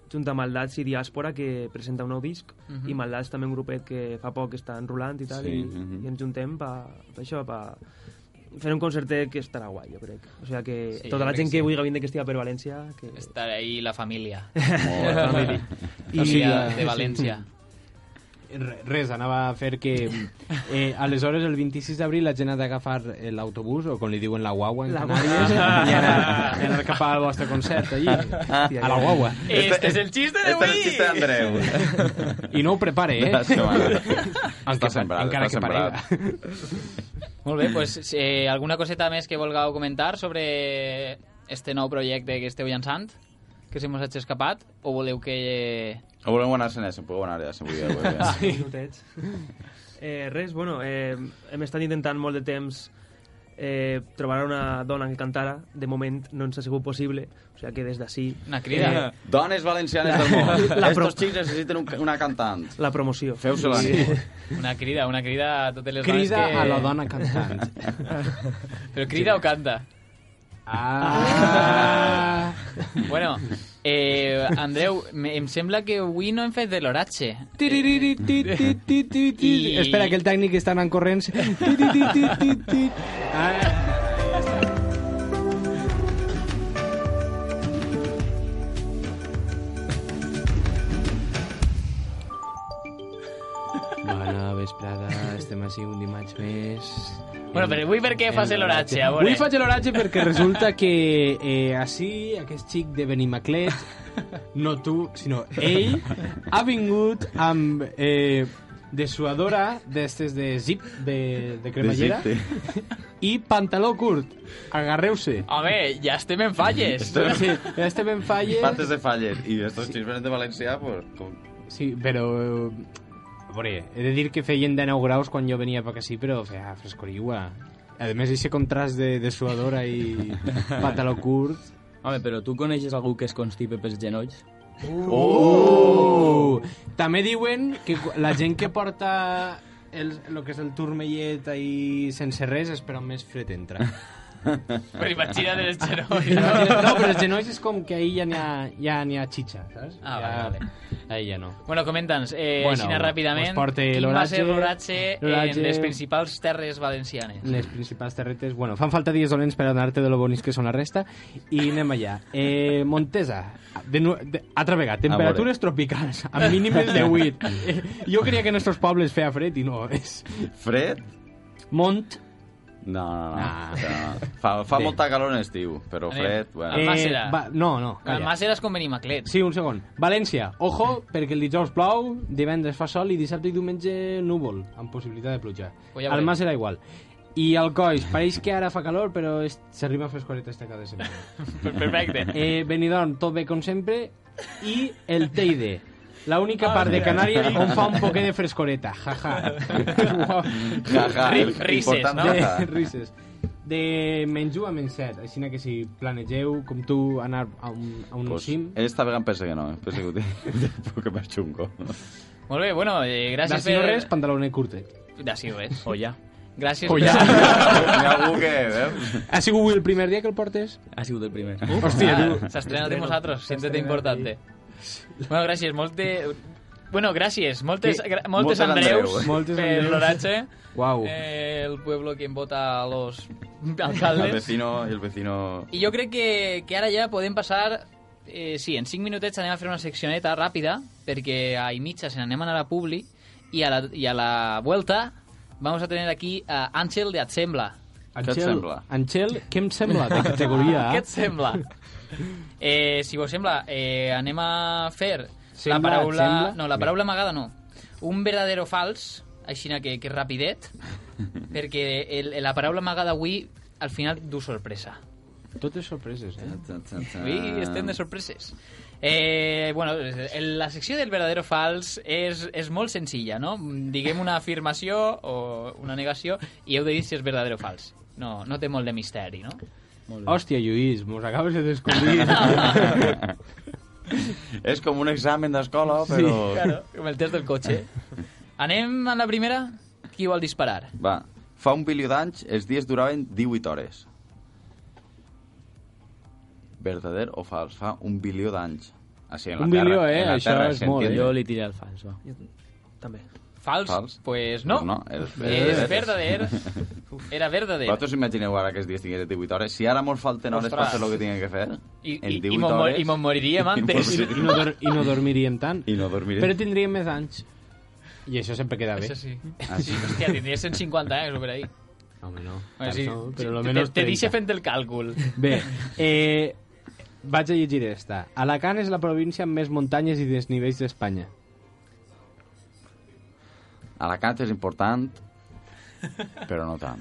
S13: junt amb Maldats i Diàspora que presenta un nou disc
S3: Mhm.
S13: i Maldats també un grupet que fa poc està enrolant i tal
S4: Sí,
S13: i,
S4: mhm.
S13: i ens juntem per això, per fer un concertet que estarà guai, jo crec. O sigui que
S3: Sí,
S13: tota
S3: jo
S13: la
S3: crec
S13: gent
S3: que
S13: que
S3: sí.
S13: vulgui vindre que estigui per València... Que...
S3: Estar ahí la família.
S13: bé.
S3: La família.
S13: I-
S3: O sigui,
S13: Sí,
S3: de València.
S5: Re- Res, anava a fer que... Eh, aleshores, el 26 d'abril la gent ha d'agafar eh, l'autobús, o com li diuen, la guagua, en
S13: La
S5: Canàries,
S13: guagua.
S5: i anar, i anar cap al vostre concert, allí, a la guagua.
S4: Eh.
S3: Este és el xiste
S4: Este és
S3: d'avui!
S4: el xiste d'Andreu.
S5: I no ho prepare, eh?
S4: De la setmana.
S5: Encara,
S4: Està sembrat, està
S5: encara que
S4: sembrat.
S5: parega.
S3: Molt bé, pues, eh, alguna coseta més que vulgueu comentar sobre este nou projecte que esteu llançant? Que se mos hagi escapat? O voleu que...
S4: O volem anar-se'n, ja se'n podeu anar ja, se'n podeu anar ja.
S5: [laughs]
S13: Sí. [laughs] Minutets. Eh, res, bueno, eh, hem estat intentant molt de temps eh, trobar una dona que cantara. De moment no ens ha sigut possible, o sigui que des d'ací... eh,
S3: Una crida.
S4: Eh, Dones valencianes del
S5: [laughs]
S4: món.
S13: La, pro
S4: Estos xics necessiten un, una cantant.
S13: la promoció.
S4: Feu-se-la. Sí.
S3: Una crida, una crida a totes les
S5: Crida
S3: dones que...
S5: a la dona cantant.
S3: Però crida o canta?
S5: Ah.
S3: Bueno, eh, Andreu, me, em sembla que avui no hem fet de l'oratge.
S5: Tiririri, ti, ti, ti, ti, ti.
S3: I-
S5: Espera, que el tècnic està anant corrents. Ti, ti, ti, ti, ti, ti. Ah. Bona vesprada, estem així un dimarts més.
S3: Bueno, però avui per què
S5: En
S3: fas l'oratge, a veure?
S5: Avui faig l'oratge perquè resulta que eh, així aquest xic de Benimaclet, no tu, sinó ell, ha vingut amb eh, dessuadora d'estes de zip, de, de cremallera,
S4: De
S5: i pantaló curt. Agarreu-se.
S3: Home, ja estem en falles.
S5: Sí, ja estem en falles.
S4: Pates de falles. I estos xics venen de València, pues... Com...
S5: Sí, però... eh, A veure, he de dir que feien 19 graus quan jo venia per que sí, però feia frescor igual. A més, aquest contrast de, de suadora
S3: [laughs]
S5: i pantaló curt...
S12: Home, però tu coneixes algú que es constipe pels genolls?
S3: Oh!
S5: Uh! També diuen que cu- la gent que porta el, lo que és el turmellet ahí sense res és per on més fred entra.
S3: [laughs] Però imagina't
S5: [laughs]
S3: els genolls.
S5: No, però els genolls és com que ahí ja n'hi ha, ja n'hi ha xitxa, saps?
S3: Ah,
S5: ja,
S3: vale,
S5: Ahí ja no.
S3: Bueno, comenta'ns, eh,
S5: Bueno,
S3: bueno, aixina ràpidament,
S5: us porte
S3: quin va ser l'oratge
S5: l'oratge,
S3: en
S5: l'oratge-
S3: les principals terres valencianes?
S5: Les principals terretes... Bueno, fan falta dies dolents per adonar-te de lo bonis que són la resta. I anem allà. Eh, Montesa, de, nu- de, altra vegada, temperatures tropicals, a mínimes de 8. Eh, jo creia que en nostres pobles feia fred i no. És...
S4: Fred?
S5: Mont...
S4: No, no, no. no. Fa, fa
S5: Bé.
S4: molta calor en estiu, però fred... Bueno.
S3: Almàssera.
S5: Eh, va, no, no, calla.
S3: Almàssera és com Benimaclet.
S5: Sí, un segon. València, ojo, perquè el dijous plou, divendres fa sol i dissabte i diumenge núvol, amb possibilitat de pluja.
S3: Pues ja
S5: Al
S3: veurem.
S5: mas serà igual. I el coix, pareix que ara fa calor, però es- s'arriba a fer escoreta esta cada setmana.
S3: [laughs] Perfecte.
S5: Eh, Benidorm, tot bé com sempre, i el Teide. La única
S3: Ah,
S5: part de
S3: mira.
S5: Canàries on fa un poquet de frescoreta. Jaja. Ja.
S4: Ja, ja, el Rises, important, no? ja.
S3: tota.
S5: De, rises. De menys u a menys set. Així que si planegeu, com tu, anar a un, a un
S4: Pues,
S5: cim...
S4: esta vegada em pensa que no, em pensa que ho tinc [laughs] un poc més xungo.
S3: Molt bé, bueno, eh, gràcies
S5: D'ací no
S3: per...
S5: res, pantalonet curtet.
S3: D'ací no res.
S12: O ja.
S3: Gràcies. [laughs]
S5: O ja.
S4: Hi ha algú que...
S5: ¿eh?
S4: Veus?
S5: Ha sigut el primer dia que el portes?
S12: Ha sigut el primer.
S5: Uh, Hòstia, tu.
S3: S'ha estrenat amb
S5: S'estrena.
S3: nosaltres, sempre
S5: S'estrena
S3: importante. Bueno, gràcies, molte... Bueno, gràcies, moltes,
S5: Sí.
S3: gra-
S5: Moltes
S3: moltes,
S12: [laughs]
S3: Andreus,
S5: Andreus. Moltes
S3: per
S5: Andreus.
S3: l'oratge.
S5: Guau.
S3: Eh, el pueblo que vota a los alcaldes.
S4: El vecino, el vecino...
S3: I jo crec que, que ara ja podem passar... Eh, sí, en 5 minutets anem a fer una seccioneta ràpida, perquè a i mitja se n'anem a anar a Publi, i a la, i a la vuelta vamos a tenir aquí a Àngel de Atsembla.
S5: Angel, Angel, què em sembla? De categoria A.
S3: [laughs] Què et sembla? Eh, si vos sembla, eh, anem a fer
S5: Sembla,
S3: la paraula...
S5: sembla.
S3: No, la paraula amagada no. Un verdadero fals, així que, que
S5: [laughs]
S3: rapidet, perquè el, la paraula amagada avui al final du sorpresa.
S5: Totes sorpreses, eh?
S4: Ah.
S3: Avui estem de sorpreses. Eh, bueno, el- la secció del verdadero fals és, és molt senzilla, no? Diguem una afirmació o una negació i heu de dir si és verdadero o fals. No, no té molt de misteri, no?
S5: Hòstia, Lluís, mos acabes de
S3: [laughs]
S5: descobrir.
S4: És com un examen d'escola, però...
S3: Claro, com el test del cotxe. Anem a la primera? Qui vol disparar?
S4: Va, fa un bilió d'anys els dies duraven 18 hores. Verdader o fals? Fa un bilió d'anys. Així, en la
S12: Un
S4: terra,
S12: bilió, eh?
S4: en la
S12: Això
S4: terra,
S12: és
S4: se
S12: molt, eh?
S4: entiende.
S12: Jo li tiré al fals, va.
S13: També.
S3: Fals?
S4: Fals.
S3: Pues no.
S4: Pues no, és
S3: és
S4: verdader. [laughs]
S3: verdader. Era verdader.
S4: Vosaltres imagineu ara que els dies tingués 18 hores? Si ara mos falten hores per
S3: Ostres.
S4: fer el que tinguem que fer,
S3: I-
S4: en
S3: i- i
S4: 18
S3: mos mor-
S4: hores...
S3: i mos moriríem antes.
S5: I, no dor I no dormiríem tant.
S4: I no dormiríem.
S5: Però tindríem més anys. I això sempre queda bé.
S3: Això sí.
S4: Ah, sí.
S3: sí. [laughs] Hòstia, tindries 150 anys o per ahí.
S5: Home, no.
S3: Bueno, sí,
S5: Tant no, però
S3: sí,
S5: lo
S3: te-
S5: menos
S3: te,
S5: 30.
S3: deixa fent el càlcul.
S5: Bé, eh, vaig a llegir esta. Alacant és la província amb més muntanyes i desnivells d'Espanya.
S4: Alacant és important, però no tant.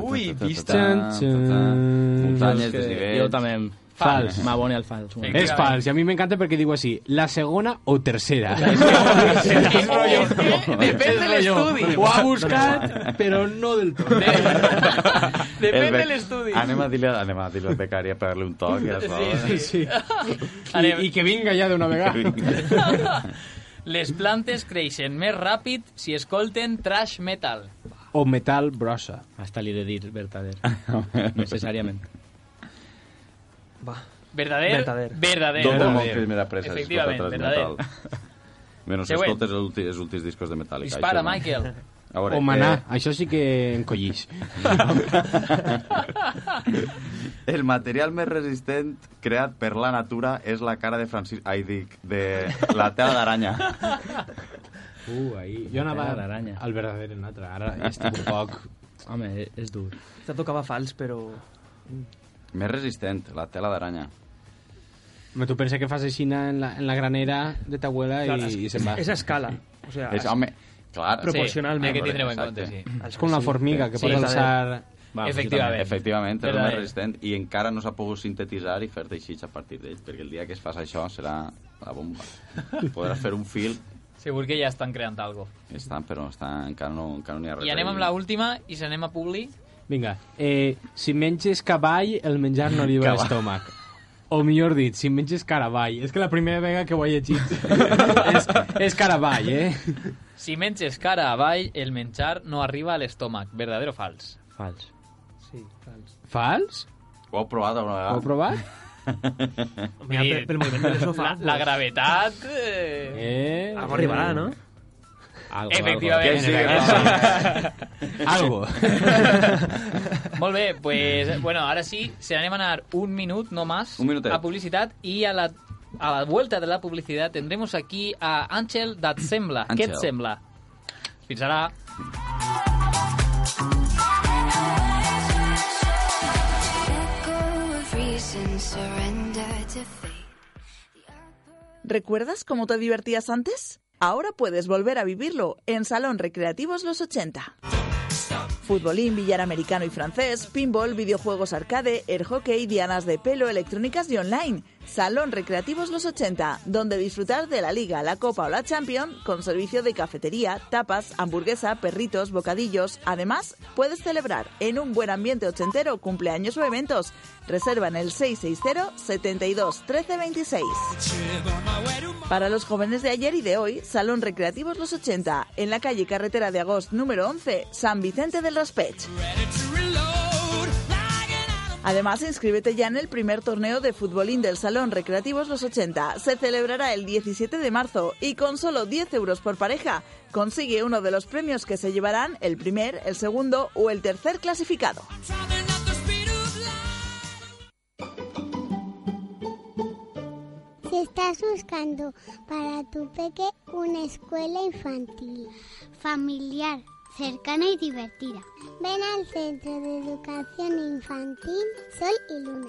S12: Ui, vist?
S4: Muntanyes,
S12: Jo és que-
S4: desnivells...
S12: jo també.
S5: Fals.
S12: M'abone al fals. un moment.
S5: És fals, i a mi m'encanta perquè diu així, la segona o tercera. [laughs]
S12: És rotllo. [laughs]
S3: Depèn de l'estudi.
S5: Ho ha buscat, però no del tot.
S4: El bec-
S3: de l'estudi.
S4: Anem a dir-li anem a dir al becari a pegar-li un toc. Ja
S3: Sí, sí.
S5: I, I que vinga ja d'una vegada.
S3: [laughs] Les plantes creixen més ràpid si escolten trash metal.
S5: O metal brossa.
S12: Hasta li he de dir
S4: [laughs]
S12: verdader. Necessàriament.
S3: Verdader?
S12: Verdader.
S3: Verdader.
S4: D'on del món
S3: Verdader.
S4: primera presa
S3: Efectivament,
S4: s'escolta
S3: verdader.
S4: metal. Menos
S3: Següent.
S4: escoltes els últims, els últims discos de Metallica. això
S3: Dispara,
S4: no.
S3: Michael.
S4: A veure,
S5: o manar,
S4: eh,
S5: això sí que encollís.
S4: el material més resistent creat per la natura és la cara de Francis... Ai, dic, de la tela d'aranya.
S12: [laughs]
S5: Uh, ahí. Jo anava
S12: Era l'aranya.
S5: [laughs] al verdader en altre. Ara ja
S4: [laughs]
S5: estic un poc...
S12: Home, és dur.
S13: Esta tocava fals, però...
S4: Més resistent, la tela d'aranya.
S5: Me tu pensa que fas així en la, en la granera de ta abuela
S13: Clar,
S5: i, i se'n va.
S13: És a escala. O sea,
S4: És, home, clar...
S3: Sí,
S13: Proporcionalment.
S3: hay que tindre-ho en
S4: Exacte.
S3: compte, sí.
S5: És com la formiga, que
S3: Sí,
S5: pot
S3: està bé.
S5: alçar...
S3: Va, Efectivament.
S4: Efectivament, és el
S3: Verdader.
S4: més resistent i encara no s'ha pogut sintetitzar i fer teixits a partir d'ell, perquè el dia que es fas això serà la
S3: [laughs]
S4: bomba. Podràs fer un fil,
S3: [laughs] Segur que ja estan creant algo.
S4: estan, però estan, encara no encara no n'hi ha res.
S3: I anem amb la última i se anem a Publi.
S5: Vinga, eh, si menges cavall, el menjar no li va a
S12: Cavall.
S5: l'estómac. O millor dit, si menges caravall. És que la primera vegada que ho he llegit
S4: [laughs]
S5: és, és caravall, eh?
S3: Si menges cara avall, el menjar no arriba a l'estómac. Verdadero o fals?
S12: Fals.
S13: Sí, fals.
S5: Fals?
S4: Ho heu provat alguna vegada?
S5: Ho heu provat?
S13: [laughs] Mira, pel, pel moviment
S3: [laughs]
S13: del sofà...
S3: La, la gravetat... Eh...
S5: Eh,
S13: Algo arribarà, no?
S5: Algo,
S3: Efectivament. [laughs]
S5: Algo.
S3: Molt bé, pues, bueno, ara sí, se n'anem a anar un minut, no más,
S4: Un minutet.
S3: a publicitat i a la, a la vuelta de la publicitat tendremos aquí a Àngel d'Atsembla. Què et
S4: Àngel.
S3: sembla? Fins ara.
S14: ¿Recuerdas cómo te divertías antes? Ahora puedes volver a vivirlo en Salón Recreativos Los 80. Futbolín, billar americano y francés, pinball, videojuegos arcade, air hockey, dianas de pelo, electrónicas y online. Salón Recreativos Los 80, donde disfrutar de la Liga, la Copa o la Champions con servicio de cafetería, tapas, hamburguesa, perritos, bocadillos. Además, puedes celebrar en un buen ambiente ochentero cumpleaños o eventos. Reserva en el 660 72 13 26. Para los jóvenes de ayer y de hoy, Salón Recreativos Los 80, en la calle Carretera de Agost número 11, San Vicente del Raspech. Además, inscríbete ya en el primer torneo de futbolín del Salón Recreativos Los 80. Se celebrará el 17 de marzo y con solo 10 euros por pareja consigue uno de los premios que se llevarán el primer, el segundo o el tercer clasificado.
S15: Si estás buscando para tu peque una escuela infantil, familiar, cercana y divertida, ven al Centro de Educación Infantil Sol y Luna.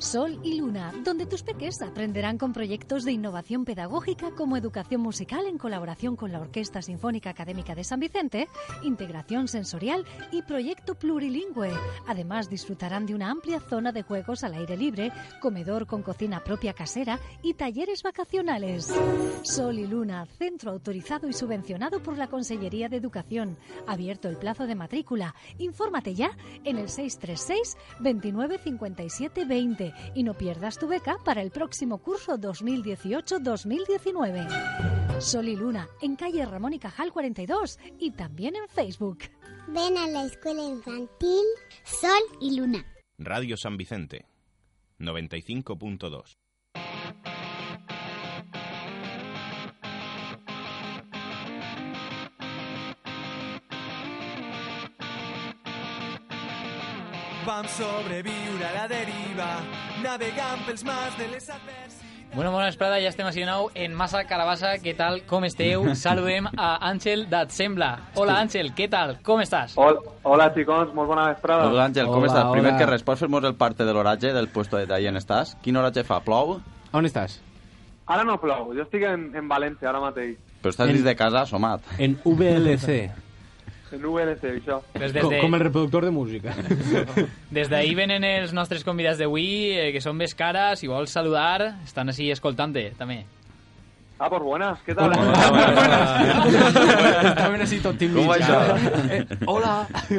S10: Sol y Luna, donde tus peques aprenderán con proyectos de innovación pedagógica como educación musical en colaboración con la Orquesta Sinfónica Académica de San Vicente, integración sensorial y proyecto plurilingüe. Además, disfrutarán de una amplia zona de juegos al aire libre, comedor con cocina propia casera y talleres vacacionales. Sol y Luna, centro autorizado y subvencionado por la Consellería de Educación. Abierto el plazo de matrícula. Infórmate ya en el 636 29 57 20 y no pierdas tu beca para el próximo curso 2018-2019. Sol y Luna, en calle Ramón y Cajal 42 y también en Facebook.
S15: Ven a la escuela infantil Sol y Luna.
S11: Radio San Vicente, 95.2.
S8: Vam sobreviure a la deriva, navegant pels mars de les adversitats.
S16: [laughs]
S3: Bueno, bona vesprada, ja estem així de nou en Massa Carabassa. Què tal, com esteu? Saludem a Àngel d'Atsembla. Hola, Àngel, què tal, com estàs?
S16: Hola, hola chicos, molt bona vesprada.
S4: Doncs, Àngel, com estàs? Primer que res, pots fer-nos el parte de l'oratge del puesto de tall on estàs? Quin oratge fa? Plou?
S5: On estàs?
S16: Ara no plou, jo estic en, en València ara mateix,
S4: Però estàs
S5: En-
S4: dins de casa assomat.
S5: En VLC,
S16: en UNC, això.
S3: Des,
S5: com, com el reproductor de
S13: [laughs]
S5: música.
S3: Des d'ahir venen els nostres convidats d'avui, eh, que són més cares, si vols saludar, estan així escoltant-te, també.
S16: Ah, pues buenas, què tal?
S3: Hola, buenas.
S5: Buenas. Estaven així tot tímids.
S16: Com va
S5: ja.
S16: això?
S5: Eh, hola.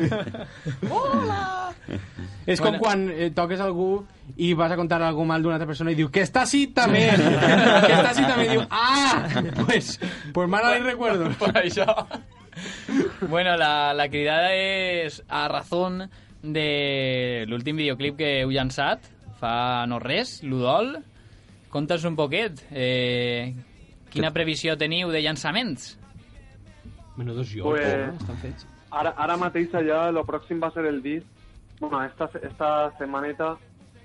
S16: [laughs]
S5: hola. És com
S16: Bueno.
S5: quan eh, toques algú i vas a contar algú mal d'una altra persona i diu que està així també.
S13: [laughs]
S5: que està així també. I diu, ah, [laughs] pues, pues mala li
S3: [laughs]
S5: recuerdo.
S3: Per això. Bueno, la, la cridada és a razón de l'últim videoclip que heu llançat, fa no res, l'Udol. Conta'ns un poquet, eh, quina previsió teniu de llançaments?
S5: Menudos jo.
S16: Pues-
S5: Pues... Estan fets.
S16: Ara, ara mateix allà, lo pròxim va ser el disc. Bueno, esta, esta setmaneta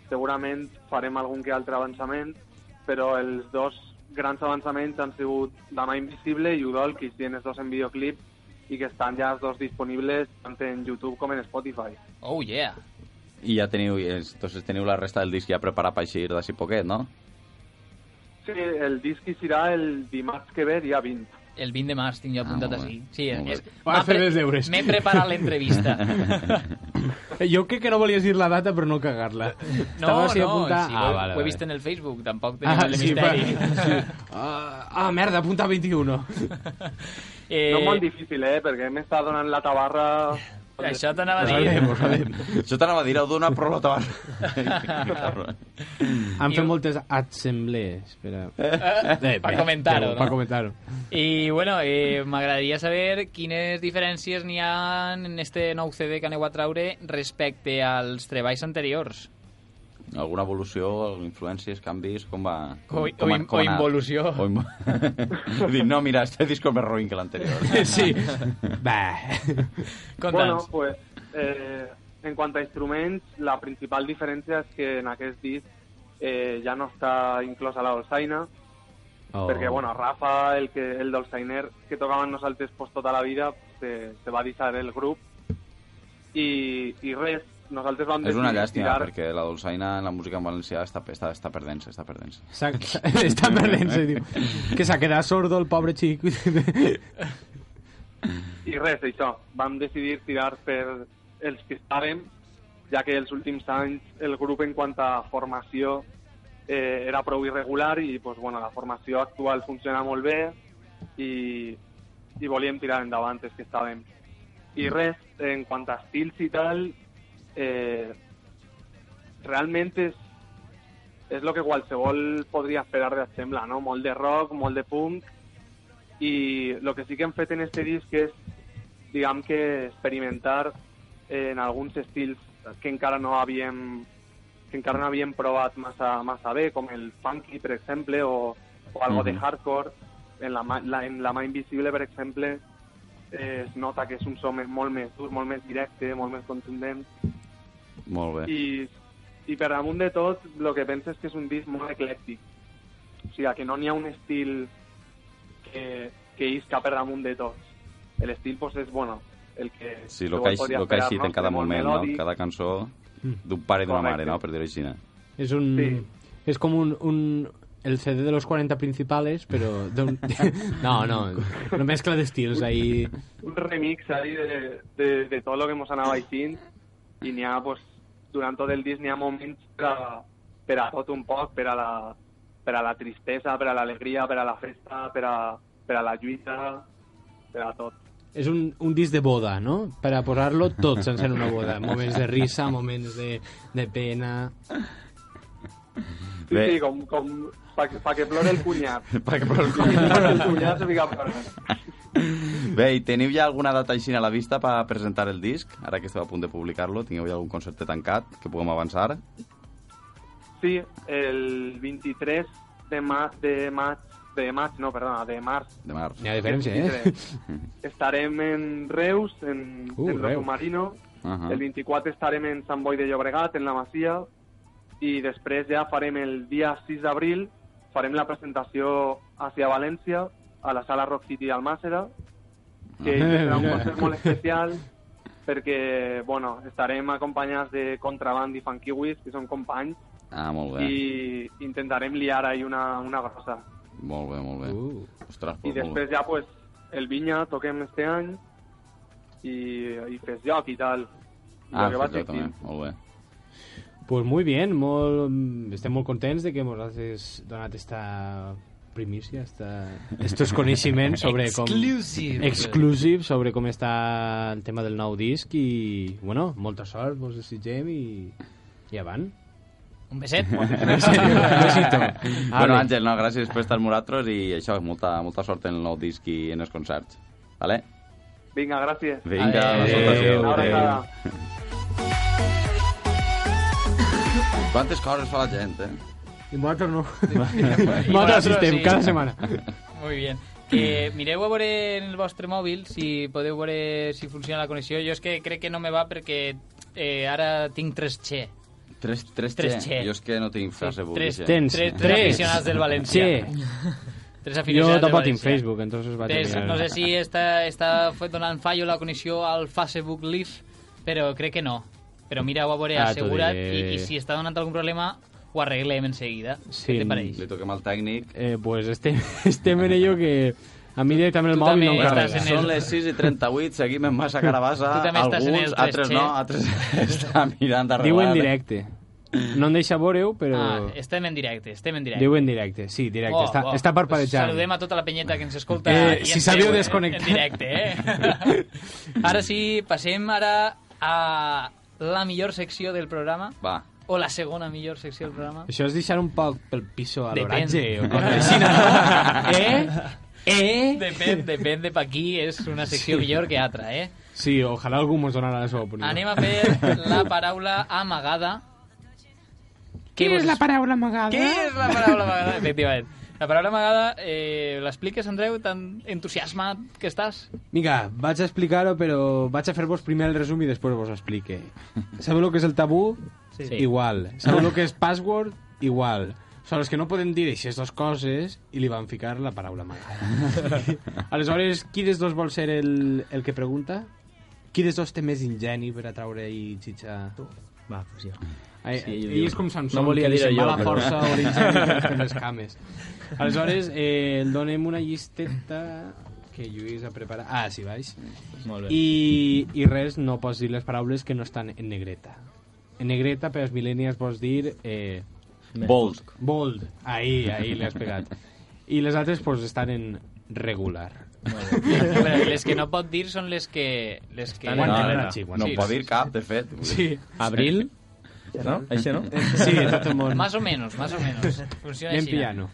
S16: segurament farem algun que altre avançament, però els dos grans avançaments han sigut La mà invisible i Udol, que hi els dos en videoclip i que estan ja els dos disponibles tant en YouTube com en Spotify.
S3: Oh, yeah!
S4: I ja teniu, i és- entonces, teniu la resta del disc ja preparat per així d'ací poquet, no?
S16: Sí, el disc hi serà el dimarts que ve, dia 20.
S3: El 20 de març tinc jo apuntat ah, així. Sí, és, és,
S5: Va fer els deures.
S3: M'he preparat
S5: [laughs]
S3: l'entrevista.
S5: Eh, Jo crec que no volies dir la data per no cagar-la. Estava
S3: No, no,
S5: així
S3: si
S5: a apuntar-
S3: ho,
S5: Ah, vale,
S3: ho he
S5: vale.
S3: vist en el Facebook, tampoc tenim
S5: Ah,
S3: el
S5: sí, va,
S3: misteri. [laughs]
S5: sí. Ah, ah, merda, apunta 21.
S16: No és molt difícil, eh? Perquè m'està donant la tabarra
S3: Això t'anava a dir.
S4: [laughs] Això t'anava a dir, heu donat prou la tabarra.
S5: Han fet moltes assemblees per, a...
S3: Mm. [laughs] Eh, per comentar-ho, no?
S5: Per comentar-ho.
S3: I bueno, eh, m'agradaria saber quines diferències n'hi ha en este nou CD que aneu a traure respecte als treballs anteriors.
S4: [laughs] Alguna evolució, influències, canvis, com va...
S3: O-
S4: Com,
S3: o in- o involució.
S4: O invo... [laughs] Dic, no, mira, este disco és més ruïn que l'anterior.
S5: [laughs] Sí. Bah.
S16: Bueno, pues eh, en cuanto a instruments, la principal diferència és que en aquest disc eh, ja no està inclosa la dolçaina,
S5: Oh.
S16: perquè, bueno, Rafa, el, que, el dolçainer que tocava amb nosaltres pues, tota la vida, se, se va deixar el grup, i, i res, nosaltres vam
S4: És una
S16: decidir
S4: llàstima,
S16: tirar-
S4: perquè la dolçaina en la música en valencià està, està, està perdent-se, està perdent-se.
S5: S'ha- [laughs] Està perdent-se, diu. Que s'ha quedat sordo el pobre xic.
S16: I res, això, vam decidir tirar per els que estàvem, ja que els últims anys el grup en quant a formació eh, era prou irregular i pues, bueno, la formació actual funciona molt bé i, i volíem tirar endavant els que estàvem. I res, en quant a estils i tal, eh, realment és, és el que qualsevol podria esperar de Sembla, no? Molt de rock, molt de punk, i el que sí que hem fet en este disc és, diguem que experimentar en alguns estils que encara no havíem que encara no havíem provat massa, massa bé, com el funky, per exemple, o, o algo de
S4: Mhm.
S16: hardcore. En la, mà- la, en la mà invisible, per exemple, eh, es nota que és un so més, molt més dur, molt més directe, molt més contundent.
S4: Molt bé.
S16: I, i per damunt de tot, el que penso és que és un disc molt eclèctic. O sigui, que no n'hi ha un estil que, que isca per damunt de tots. L'estil pues, és, bueno, el que...
S4: Sí, el que, ha-
S16: podria
S4: lo que ha
S16: esperar,
S4: eixit
S16: no?
S4: en cada
S16: Molt
S4: moment, no?
S16: melòdic.
S4: Cada cançó
S5: Mm.
S4: d'un pare i d'una mare, no? Per dir-ho així. no?
S5: És un... És com un... un el CD de los 40 principales, però... d'un- No, no, una mezcla d'estils ahí...
S16: un remix ahí de, de, de todo lo que hemos anado així i n'hi ha, pues, durant tot el disc n'hi ha moments per a, per a tot un poc, per a la, per a la tristesa, per a l'alegria, per a la festa, per a, per a la lluita, per a tot.
S5: És un, un disc de boda, no? Per a posar-lo tot sense en una boda. Moments de risa, moments de, de pena...
S16: Sí,
S5: Bé.
S16: sí, com, com pa, que- pa que plore el cunyat.
S4: [laughs] Pa que plore el
S16: cunyat. pa que el cunyat se fica a plorar.
S4: Bé, i teniu ja alguna data així a la vista per presentar el disc? Ara que esteu a punt de publicar-lo, tingueu ja algun concertet tancat que puguem avançar?
S16: Sí, el 23 de, ma de maig, de maig, no, perdona, de març.
S4: De març.
S5: N'hi ha diferència, eh?
S16: 23. Estarem en Reus, en,
S5: Uh,
S16: en Rosso
S5: Reus.
S16: Marino.
S4: Ah.
S5: Ahà.
S16: El 24 estarem en Sant Boi de Llobregat, en la Masia. I després ja farem el dia 6 d'abril, farem la presentació hacia València, a la sala Rock City d'Almàssera, que
S8: Eh,
S4: [laughs]
S16: serà un
S8: mira.
S16: concert molt
S5: [laughs]
S16: especial perquè, bueno, estarem acompanyats de Contraband i Funkiwis, que són companys,
S4: [laughs] Ah, molt bé.
S16: i intentarem liar ahí una, una grossa.
S4: Molt bé, molt bé.
S5: Uh.
S4: Ostres, Ah, pues,
S16: I
S4: molt bé. [laughs]
S16: després ja, pues, el Vinya toquem este any i, i fes lloc i tal.
S4: Ah,
S16: Lo que va
S4: fet jo
S16: sortint.
S4: també, molt bé.
S5: Pues muy bien, molt, estem molt contents de que ens has donat esta primícia, esta, estos coneixements sobre com...
S1: Exclusive.
S5: Exclusive sobre com està el tema del nou disc i, bueno, molta sort, vos desitgem i, i avant.
S4: [laughs]
S3: Un beset.
S5: En serio, [laughs] un besito.
S4: Bueno,
S5: Ale.
S4: Àngel, no, gràcies per estar amb nosaltres i això, molta, molta sort en el nou disc i en els concerts. Vale?
S16: Vinga, gràcies.
S4: Vinga,
S16: Adéu.
S4: nosaltres, adéu,
S16: Una
S4: adéu.
S16: abraçada.
S4: Quantes coses fa la gent, eh?
S5: I nosaltres [laughs] no.
S3: I
S5: nosaltres
S3: vosaltres,
S5: estem
S3: sí.
S5: cada setmana.
S3: Muy bien. Eh, Que mireu a veure en el vostre mòbil si podeu veure si funciona la connexió. Jo és que crec que no me va perquè eh, ara tinc 3G.
S4: Tres, tres,
S3: Tres
S4: che.
S3: che.
S4: Jo és que no tinc frase sí,
S3: tres, tens. tres- tres aficionats del València. Tres
S5: Jo
S3: aficionats del
S5: tampoc tinc
S3: València.
S5: Facebook, entonces vaig a
S3: Tres,
S5: mirar.
S3: no sé si està, està fet donant fallo la connexió al Facebook Live, però crec que no. Però mira, ho veure
S4: Ah, t'ho
S3: assegurat
S4: diré.
S3: i, i si està donant algun problema ho arreglem enseguida.
S5: Sí,
S3: Què te pareix?
S4: Li toquem al tècnic.
S5: Eh, pues estem, [laughs] estem en ello que a mi directament
S4: Tu
S5: el mòbil
S4: també
S5: no em
S4: estàs
S5: carrega.
S4: en el... Són les 6 i 38, seguim en massa carabassa.
S5: Tu també
S4: Alguns,
S5: estàs en el
S4: altres [laughs] no,
S5: 3G.
S4: altres estan mirant eh? a
S5: Diu en
S4: revelar.
S5: directe. No em deixa veure-ho, però...
S3: Ah, estem en directe, estem en directe.
S5: Diu en directe, sí, directe.
S3: Oh,
S5: està,
S3: oh.
S5: està parpadejant.
S3: Saludem a tota la penyeta que ens escolta.
S5: Eh,
S3: i
S5: si
S3: ens
S5: sabeu
S3: veu, eh,
S5: desconnectar. [laughs]
S3: En directe, eh? ara sí, passem ara a la millor secció del programa.
S4: Va.
S3: O la segona millor secció del programa.
S5: Això és deixar un poc pel piso a
S3: Depèn.
S5: l'oratge o cosa així,
S3: [laughs]
S5: no? Eh? Eh?
S3: Depèn, depèn de pa qui és una secció
S5: Sí.
S3: millor que altra, eh?
S5: Sí, ojalà algú mos donarà la seva opinió.
S3: Anem a fer la paraula amagada.
S17: Què és la paraula amagada?
S3: Què és la paraula amagada? Efectivament. La paraula amagada, eh, l'expliques, Andreu, tan entusiasmat que
S12: [laughs]
S3: estàs?
S5: Vinga, vaig a explicar-ho, però vaig a fer-vos primer el resum i després vos ho explique. Sabeu lo que és el tabú?
S3: Sí.
S5: Igual. Sabeu lo que és password? Igual. Són els que no poden dir aquestes dues coses i li van ficar la paraula amagada.
S12: [laughs]
S5: Aleshores, qui dels dos vol ser el, el que pregunta? Qui dels dos té més ingeni per atraure i xitxa? Tu.
S12: Va, pues jo.
S5: Ai,
S12: Sí,
S5: sí,
S12: jo
S5: I
S12: digo.
S5: és com Samson,
S12: No volia
S5: que li
S12: dir-ho
S5: se'n va
S12: jo,
S5: la
S12: però-
S5: força o l'ingeni per les
S12: [laughs]
S5: cames. Aleshores, eh, el donem una llisteta que Lluís ha preparat. Ah, sí, baix.
S12: Molt bé.
S5: I, I res, no pots dir les paraules que no estan en negreta. En negreta, per als mil·lennials, vols dir... Eh,
S4: Bold.
S5: Bold. Ahí, ahí l'has pegat. I les altres, doncs, pues, estan en regular.
S3: Bé, les que no pot dir són les que... Les que...
S5: Estan en Guantanamo, negreta. sí,
S4: No
S5: guantanamo.
S4: pot dir cap, de fet.
S5: Sí.
S12: Abril? No? Això no?
S5: Sí, tot el món.
S3: Más o menos, más o menos. Funciona
S5: Anem
S3: així. eh?
S5: piano.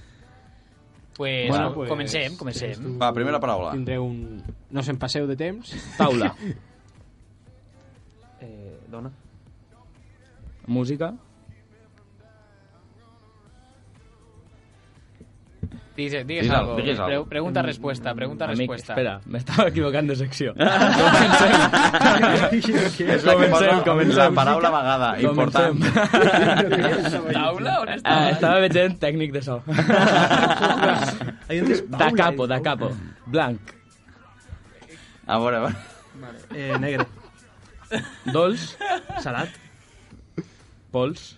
S3: Pues,
S5: Bueno,
S3: bueno,
S5: pues,
S3: pues, comencem, comencem.
S4: Va, primera paraula.
S5: Tindreu un... No se'n passeu de temps.
S12: Taula.
S13: Eh, dona.
S12: Música?
S3: Digues, digues,
S12: Digues
S3: algo.
S12: algo, digues algo.
S3: Pre- pregunta, respuesta, pregunta,
S12: Amic,
S3: respuesta.
S12: espera, m'estava equivocant
S4: [laughs]
S12: de secció.
S4: És la que posa la paraula amagada,
S12: [laughs]
S4: important.
S3: Taula on està?
S12: Ah, estava veient tècnic de so.
S4: [laughs]
S12: da capo, da capo. Blanc.
S4: A veure, a veure.
S13: Vale. Eh, negre.
S12: Dolç.
S13: Salat.
S12: Pols.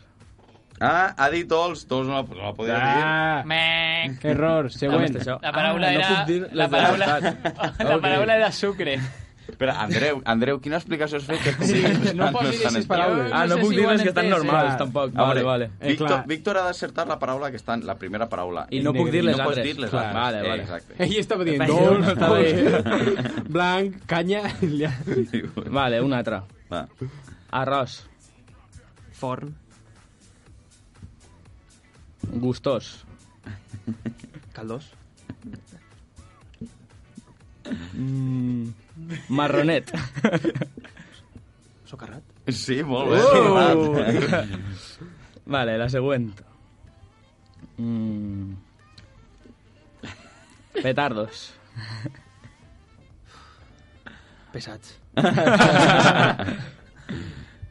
S4: Ah, ha dit dolç, dolç no la, no la podia
S5: Ah,
S3: Menc.
S5: error, següent.
S3: La
S12: Ah,
S3: paraula
S12: no
S3: era...
S12: puc dir les
S3: la
S12: de
S3: paraula... [laughs] la
S4: Ok.
S3: paraula era sucre.
S4: dir. Espera, Andreu, Andreu, quina explicació has fet? Que
S5: Sí, no pots dir aquestes paraules.
S12: Ah,
S5: sé
S12: no puc
S5: si
S12: dir
S5: ho han
S12: les que estan
S5: entès, eh?
S12: normals,
S5: Clar.
S12: tampoc.
S4: A
S12: Vale,
S4: veure,
S12: vale.
S4: Ah,
S12: Eh,
S4: Víctor, Víctor ha d'acertar la paraula que està en la primera paraula.
S12: I no puc dir les
S4: no
S12: altres.
S4: Pots dir les
S12: Clar.
S4: altres.
S12: Vale, vale.
S4: Eh, exacte.
S5: Ell estava dient
S12: Perfecte.
S5: dolç,
S12: [laughs] Està bé.
S5: dolç, blanc, canya... li ha-
S12: Vale, una altra.
S4: Va.
S12: Arròs.
S13: Forn.
S12: Gustós.
S13: Caldós.
S12: Mm, marronet.
S4: [laughs]
S13: Socarrat.
S4: Sí, molt bé.
S12: Uh!
S4: socarrat.
S5: Oh!
S12: vale, la següent. Mm. Petardos.
S13: Pesats.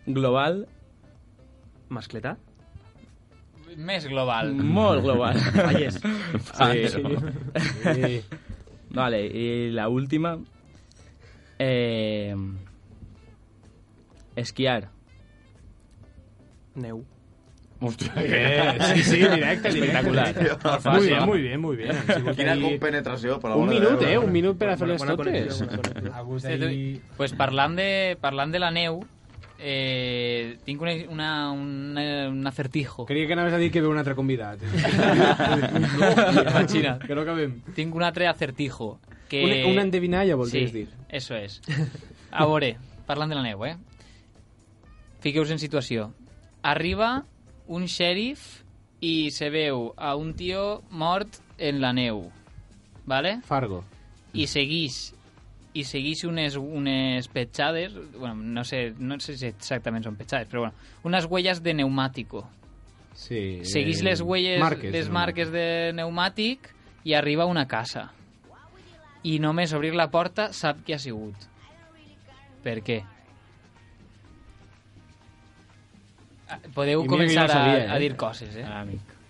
S12: Global.
S13: Mascleta.
S3: Més global.
S12: Molt global.
S13: Vallès.
S12: Sí.
S5: Sí.
S12: Vale, y la última. Eh, esquiar.
S13: Neu.
S5: Bé, sí, sí, directe,
S12: Espectacular.
S5: directe.
S12: Molt
S5: Muy
S12: fàcil.
S5: bien, muy bien, muy bien. Han sigut
S4: Quina
S5: ahí-
S4: compenetració, per
S5: Un
S4: l'amor de
S5: minut,
S4: Déu.
S5: eh? Un minut per a fer-les
S13: Bona
S5: totes.
S13: connexió, bona connexió.
S5: A gust
S3: Sí,
S5: ahí...
S3: tu- pues parlant de, parlant de la neu, eh, tinc una, una, una, un acertijo.
S5: Creia que anaves a dir que ve un altre
S3: [laughs]
S5: convidat. [laughs]
S3: Imagina.
S5: Que no acabem.
S3: Tinc un altre acertijo. Que...
S5: Un, una endevinalla, volties
S3: sí,
S5: dir.
S3: eso
S5: [laughs]
S3: és. A veure, parlant de la neu, eh? Fiqueu-vos en situació. Arriba un xèrif i se veu a un tio mort en la neu. Vale?
S5: Fargo.
S3: i seguís i seguís unes, unes petjades, bueno, no sé, no sé si exactament són petjades, però bueno, unes huelles de pneumàtico.
S5: Sí. eh,
S3: Seguís les huelles, marques, les
S5: no?
S3: marques de pneumàtic i arriba a una casa. I només obrir la porta sap qui ha sigut. Per què? Ah,
S5: I
S3: Podeu
S5: mira que jo
S3: començar
S5: no sabia,
S3: a, a
S5: eh?
S3: dir coses, eh?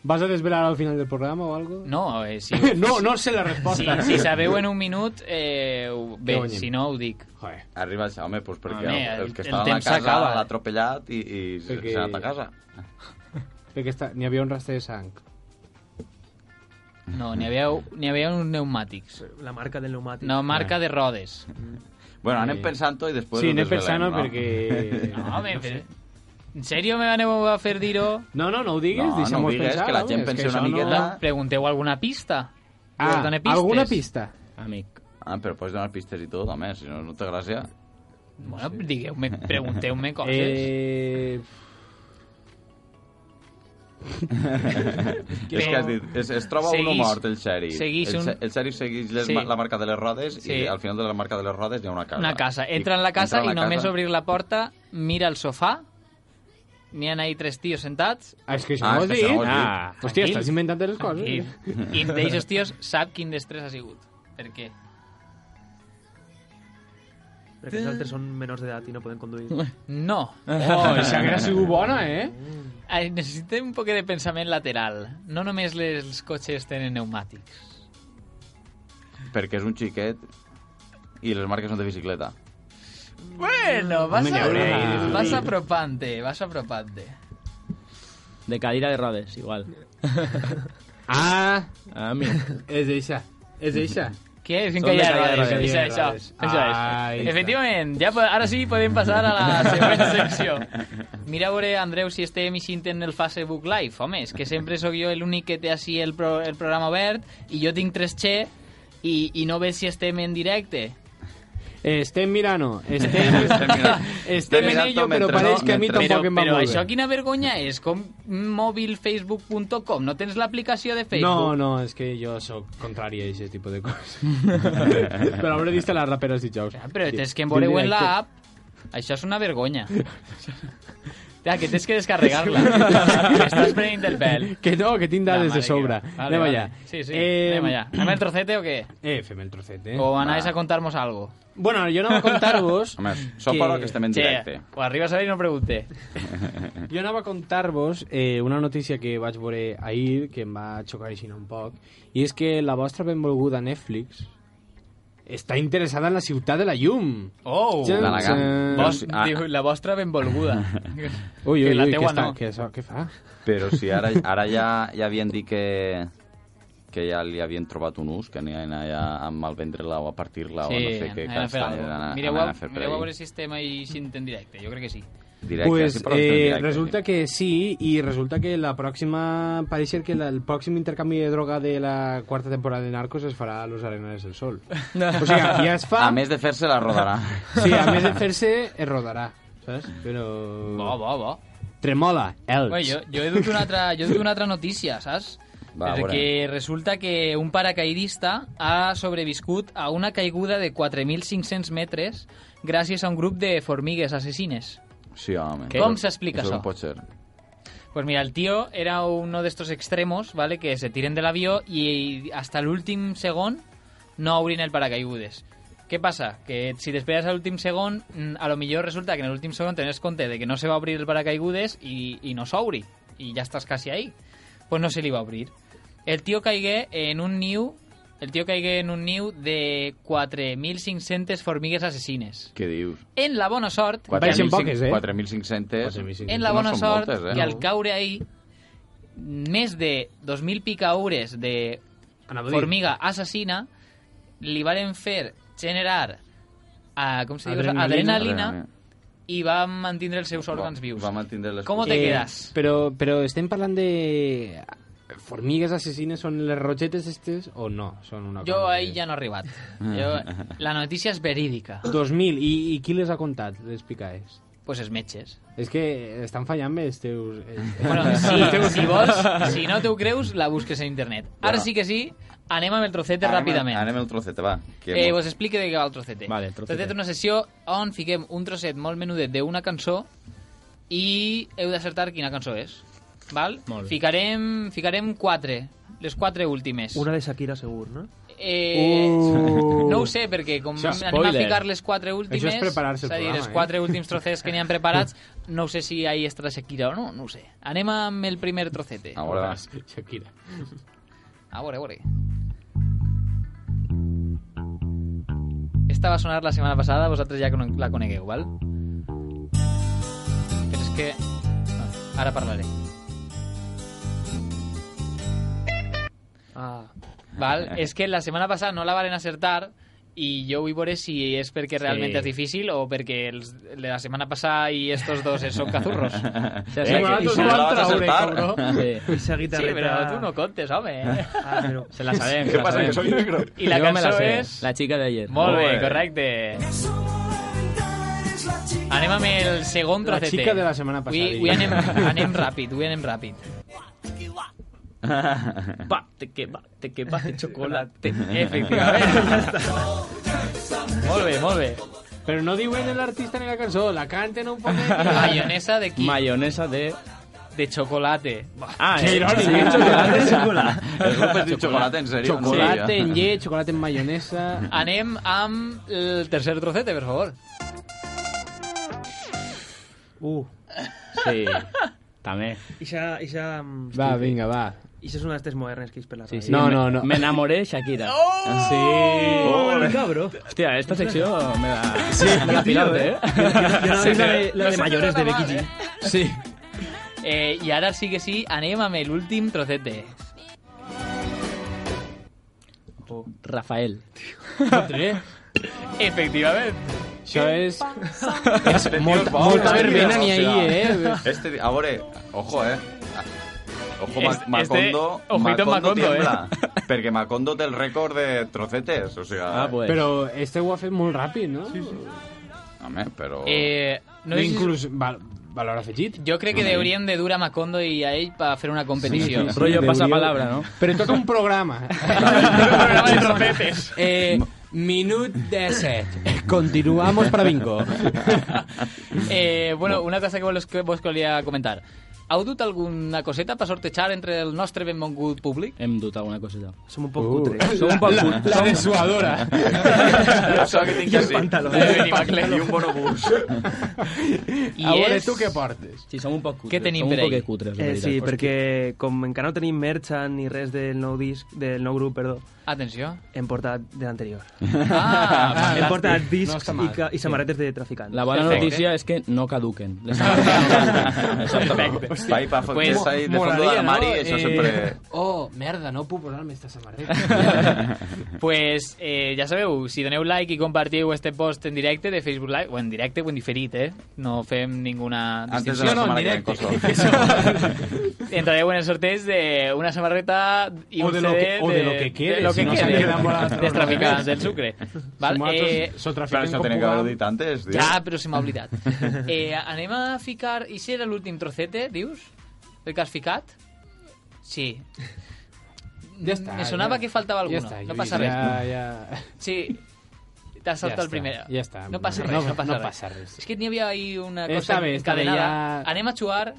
S5: Vas a desvelar al final del programa o algo?
S3: No, eh, si...
S5: [laughs] No, no sé la resposta.
S3: Si, si sabeu en un minut, eh, ho-
S5: Que
S3: bé,
S5: guanyem.
S3: si no ho dic.
S5: Joder.
S4: Arriba això, home, doncs perquè
S3: Home,
S4: el, el
S3: el-
S4: que
S3: el
S4: estava a la
S3: temps
S4: casa
S3: s'acaba.
S4: l'ha atropellat i, i
S5: Perquè-
S4: perquè... s'ha anat a casa.
S5: Perquè està... n'hi havia un rastre de sang.
S3: No, n'hi havia, n'hi havia uns pneumàtics.
S13: La marca del pneumàtic.
S3: No, marca de rodes.
S4: Bueno,
S5: Sí.
S4: anem pensant-ho i després
S5: Ah. Sí,
S4: ho
S5: anem
S4: desvelem,
S5: pensant-ho
S4: no?
S3: [laughs]
S5: perquè...
S3: No, home, però... En sèrio me aneu a fer dir-ho?
S5: No, no, no ho diguis,
S3: No, no
S5: deixa'm
S3: ho digues,
S4: que la gent pensi una miqueta.
S3: Pregunteu alguna pista.
S4: Ah,
S3: Us dono pistes.
S4: alguna
S5: pista?
S3: Amic.
S4: Ah, però pots donar pistes i tot, a més, si no, no té gràcia.
S3: Bueno, digueu-me, pregunteu-me coses.
S5: Eh...
S4: és que has dit, es, es troba
S3: Seguís-
S4: un mort, el xèrif.
S3: seguís
S4: el,
S3: un-
S4: xe- el xèrif segueix les,
S3: Sí.
S4: sí. la marca de les rodes sí.
S3: Sí.
S4: i al final de la marca de les rodes hi ha una casa.
S3: Una casa. Entra
S4: I-
S3: en la casa
S4: entra
S3: i
S4: la
S3: només
S4: casa.
S3: obrir la porta, mira el sofà, n'hi han ahí tres tios sentats.
S5: Ah, és que això no ho has dit. Ah, hòstia, estàs inventant les coses. eh? [laughs]
S3: Tranquil. I d'aquests tios sap quin dels tres ha sigut. Per què?
S13: Perquè els altres són menors d'edat i no poden conduir.
S3: No.
S13: Oh,
S5: això hauria sigut bona, eh?
S3: Ai, Necessitem un poc de pensament lateral. No només les- els cotxes tenen pneumàtics.
S4: Perquè és un xiquet i les marques són de bicicleta.
S3: Bueno, vas,
S4: Vinga,
S5: eh?
S3: a,
S4: vinga.
S3: vas apropant-te, vas apropant-te.
S12: De cadira de rodes, [laughs] igual.
S5: ah!
S12: A mi.
S5: És eixa. És eixa.
S3: Què és?
S12: Són
S3: Finca
S12: de
S3: ja
S12: cadira de
S3: rodes.
S12: rodes.
S3: Això, això,
S12: Cadira de rodes.
S3: això
S12: Ah, ahí
S3: és.
S12: està.
S3: Efectivament, ja, po- ara sí podem passar
S5: [laughs]
S3: a la següent
S5: oh.
S3: secció. Mira a veure, Andreu, si estem ixint en el Facebook Live. Home, és que sempre sóc jo l'únic que té així el, pro, el programa obert i jo tinc 3G i, i no veig si estem en directe.
S5: Estem mirant-ho. [laughs] Estem,
S3: [laughs]
S5: estem este en ello, però
S3: Mentre
S5: pareix que a mi
S3: mentre
S5: tampoc
S3: però,
S5: em va
S3: però
S5: molt
S3: això
S5: bé.
S3: quina vergonya és? Com mobilfacebook.com? No tens l'aplicació
S5: No,
S3: de Facebook?
S5: no, és que jo sóc contrari a aquest tipus de
S3: [laughs]
S5: coses. però hauré vist les raperes i jocs.
S3: Però tens que veure en la app. Això és una vergonya. Ja, que tens que
S5: [laughs]
S3: descarregar-la. Estàs prenent el pèl.
S5: Que no, que tinc dades de sobre.
S3: Vale,
S5: Anem
S3: vale.
S5: allà.
S3: Sí, sí, anem allà. Anem al trocete o què?
S5: Eh, fem el trocete.
S3: O anàveu a contar-nos algo?
S5: Bueno, jo anava a contar-vos...
S4: A més, som però que estem en directe.
S3: Che, o arribes a i no pregunte.
S5: Jo anava a contar-vos eh, una notícia que vaig veure ahir, que em va xocar així un poc, i és que la vostra benvolguda Netflix està interessada en la ciutat de la llum.
S3: Oh!
S5: Txan, txan.
S3: Vos, diu, la vostra benvolguda.
S4: [laughs]
S5: Ui,
S3: que
S5: ui,
S3: la
S5: ui, què,
S3: teua
S5: està,
S3: no.
S5: què, so, què fa?
S4: Però si ara, ara ja, ja havien dit que que ja li havien trobat un ús, que anien allà amb el ventre-la o a partir-la o no sé què.
S3: anem a fer alguna cosa. Mireu,
S4: a,
S3: a,
S4: fer per
S3: mireu a
S4: ahí.
S3: veure si estem ahí sent en directe. Jo crec que sí.
S4: Directe,
S5: pues,
S4: sí, però estem en
S5: eh,
S4: directe,
S5: resulta que sí, i resulta que la pròxima... Pareix ser que la, el pròxim intercanvi de droga de la quarta temporada de Narcos es farà a Los Arenales del Sol. O sigui,
S4: [laughs]
S5: ja es fa...
S4: A més de fer-se la rodarà.
S5: [laughs] Sí, a més de eh, fer-se, es rodarà, saps? Però...
S3: Bo, bo, bo.
S5: Tremola, Elx.
S3: Bé, jo, jo he dut una altra, jo he dut una altra notícia, saps?
S5: Va,
S3: Perquè
S5: veurem.
S3: resulta que un paracaidista ha sobreviscut a una caiguda de 4.500 metres gràcies a un grup de formigues assassines.
S4: Sí, home.
S3: Què? Com s'explica
S4: Això
S3: això?
S4: no pot ser.
S3: Pues mira, el tío era uno de estos extremos, ¿vale? Que se tiren del avión y hasta el último segón no abren el paracaigudes. ¿Qué pasa? Que si te esperas al último segón, mm, a lo mejor resulta que en el último segón tenés conte de que no se va a abrir el paracaigudes y, y no se abri. Y ya estás casi ahí. Pues no se le iba a abrir. El tío caigue en un new... El tío caigue en un new de 4.500 formigues asesines.
S4: Què dius?
S3: En la bona sort... que al-
S4: 4.500.
S3: en la bona
S4: no són
S3: sort
S4: moltes, eh?
S3: que al caure ahí més de 2.000 picaures de
S5: Anava a dir.
S3: formiga assassina li varen fer generar a, com se diu?
S5: Adrenalina.
S3: adrenalina,
S5: Adrenalina.
S3: i va mantindre els seus òrgans vius.
S4: Va mantindre les...
S3: Com te
S5: Eh,
S3: quedas?
S5: Però, però estem parlant de... Formigues assassines són les rogetes estes o no? Són una
S3: Jo
S5: cosa
S3: ahí ja no he arribat.
S4: [laughs]
S3: Jo, la notícia és verídica.
S5: que... 2.000. I, I qui les ha contat, les picaes?
S3: Pues els metges.
S5: És que estan fallant bé els teus... eh, Els...
S3: Bueno,
S4: [laughs]
S3: si, si vols, si no t'ho creus, la busques en internet. Ara
S4: Bueno.
S3: sí que sí, anem amb el trocete
S4: Anem a-
S3: ràpidament.
S4: Anem al trocete, va. Que
S3: Eh,
S4: mos-
S3: vos explique de què va el trocete.
S4: Vale, el
S3: el
S4: trocete.
S3: trocete. és una sessió on fiquem un trosset molt menudet d'una cançó i heu d'acertar quina cançó és. Val?
S13: Molt bé.
S3: Ficarem, ficarem quatre, les quatre últimes.
S13: Una de Shakira segur, no?
S3: Eh,
S13: Uh.
S3: No ho sé, perquè com
S13: Això és
S3: anem a
S13: spoiler.
S3: ficar les quatre últimes...
S13: Això és preparar-se el
S3: a dir,
S13: programa,
S3: els
S13: eh?
S3: quatre últims trocets que n'hi han
S13: [laughs]
S3: preparats, no ho sé si ahí estarà Shakira o no, no ho sé. Anem amb el primer trocete.
S4: A veure, va.
S3: [laughs]
S5: Shakira.
S3: A veure, a veure. Esta va sonar la setmana passada, vosaltres ja con- la conegueu, val? Però és que... Ah, Ara parlaré. Ah. Val? és que la setmana passada no la varen acertar i jo vull veure si és perquè realment
S12: Sí.
S3: és difícil o perquè els, de la setmana passada i estos dos són [laughs] cazurros.
S12: Sí, sí, sí. La vas acertar. Sí.
S3: [laughs] Sí.
S12: I esa guitarreta-
S3: Sí, però tu no comptes, home.
S12: Ah, [laughs] però-
S3: Se la sabem.
S12: ¿Qué
S3: se la
S12: pasa, que soy
S3: sabem.
S12: negro?
S3: I la
S12: Jo me la
S3: cançó
S12: sé,
S3: és...
S12: La chica de ayer.
S3: Molt bé,
S12: Molt bé.
S3: correcte. Anem amb el segon
S5: La
S3: trocete.
S5: chica de la setmana passada,
S3: Avui, avui
S5: diguem.
S3: anem, anem ràpid, avui anem ràpid.
S12: Pa, te que va, te que va, de chocolate.
S3: Efectivament. molt bé, molt bé.
S5: Pero no diuen el artista ni la canción, la canten un poco.
S3: Mayonesa de qui?
S12: Mayonesa de...
S3: De chocolate.
S12: Ah,
S5: Qué
S12: eh,
S5: irónico,
S12: sí.
S5: chocolate,
S12: [laughs] Chocolate.
S4: El grupo es de chocolate, en serio. Sí.
S5: Chocolate en ye, chocolate en mayonesa.
S3: Anem amb el tercer trocete, per favor.
S13: Uh.
S12: Sí, també.
S13: Ixa, ixa... mm,
S5: Va, vinga, va.
S13: Ixa és una d'estes modernes que he per la
S12: Sí, sí.
S5: No,
S12: me-
S5: no, no.
S12: Me enamoré, Shakira.
S13: Oh!
S12: Sí.
S13: Oh, el cabro.
S12: Hostia, esta sección me da...
S13: Sí,
S12: me da
S13: tío,
S12: pilote,
S13: eh.
S12: ¿eh?
S13: Yo- yo- yo no
S12: Se
S13: vi la
S12: me-
S13: de- la de
S12: se me
S13: mayores
S12: nota
S13: de
S12: mal,
S13: Becky
S12: ¿eh?
S5: Sí.
S3: Eh, I ara sí que sí, anem amb l'últim trocete.
S12: Rafael.
S3: Efectivament.
S5: Això és... [laughs]
S4: És
S5: molta- molta verbena n'hi ha ahí, eh.
S4: Este, a veure, ojo, eh. Ojo, Ma-
S3: Este-
S4: Macondo,
S3: este- ojito
S4: Macondo
S3: Macondo,
S5: [laughs]
S3: eh.
S4: tiembla, Perquè Macondo té el rècord de trocetes, o sigui...
S5: Ah, pues. Pero este guafe es muy rápido, ¿no? Sí, sí.
S4: Home, però...
S5: Eh,
S3: Eh,
S5: no
S3: no sé si-
S5: inclús val, valora afegit.
S3: Jo crec que deurien de dur a Macondo i a ell per fer una competició.
S5: Rollo
S12: pasapalabra,
S5: ¿no? Pero toca un
S3: [laughs]
S5: programa.
S3: programa de trocetes.
S5: Eh, minut 17. Continuamos para bingo.
S3: [laughs] Eh, bueno, una cosa que vos, que vos volia comentar. Heu dut alguna coseta per sortejar entre el nostre benvingut públic?
S12: Hem dut alguna coseta.
S13: Som un poc cutres.
S12: Som un poc cutres.
S5: La desuadora.
S12: [laughs]
S4: Això que tinc
S12: I el
S4: així.
S12: pantaló.
S4: I el
S12: I
S4: pantaló. I un bonobús.
S12: [laughs]
S3: I
S5: A veure,
S13: és-
S5: tu què portes?
S12: Sí, som un poc
S13: Què tenim
S12: som
S13: per
S12: un poc
S13: ahí?
S12: cutres,
S13: Eh,
S12: la Pues veritat.
S13: sí, perquè com encara no tenim merchant ni res del nou disc, del nou grup, perdó.
S3: Atenció.
S13: Hem portat de l'anterior.
S3: Ah,
S12: [laughs] fantàstic.
S13: hem portat
S12: No
S13: discs
S12: està
S13: i,
S12: mal.
S13: ca- i samarretes de traficants.
S12: La bona
S13: Perfecte.
S12: notícia és que no caduquen. Les
S4: Perfecte. Va, i pa- Pues, ahí de fondo
S5: Molaria,
S4: del armari,
S5: no?
S3: Eh,
S4: això
S3: [laughs]
S4: sempre-
S5: Oh, merda, no puc posar-me
S4: [laughs]
S5: esta samarreta.
S3: [laughs] pues eh, ja sabeu, si doneu like i compartiu este post en directe de Facebook Live, o en directe o en diferit, eh? No fem ninguna
S4: Antes de
S3: distinció.
S4: la setmana que ven,
S3: [laughs] Entrareu en el sorteig d'una samarreta i
S5: O
S3: un
S5: de
S3: CD
S5: lo que- o de lo que quede,
S3: de lo
S5: si
S3: que
S5: no se
S3: quede,
S5: quedan
S3: [laughs]
S5: volados
S3: dels
S5: los
S3: traficants
S5: remeros.
S3: del
S5: [laughs]
S3: sucre. Val?
S5: Si nosaltres
S3: Eh,
S5: so trafiquen
S4: Clar, això
S5: com
S4: tenia que
S5: puguem.
S4: haver-ho dit antes, tio.
S3: Ja, Ah, però se
S5: [laughs]
S3: m'ha oblidat. Eh, anem a ficar... I si era l'últim trocete, dius? El que has ficat? Sí.
S5: Ja està,
S3: Me sonava
S5: ja.
S3: que faltava alguna.
S5: Ja està,
S3: no
S5: Lluís,
S3: passa res.
S5: ja- ja.
S3: Sí. T'has saltat
S5: Ja
S3: el
S5: està,
S3: primer.
S5: ja està.
S3: No passa
S5: No,
S3: res, no, passa,
S5: no
S3: res.
S5: passa res.
S3: És que n'hi havia ahir una
S5: Esta
S3: cosa
S5: vez, esta vez
S3: encadenada. Anem a jugar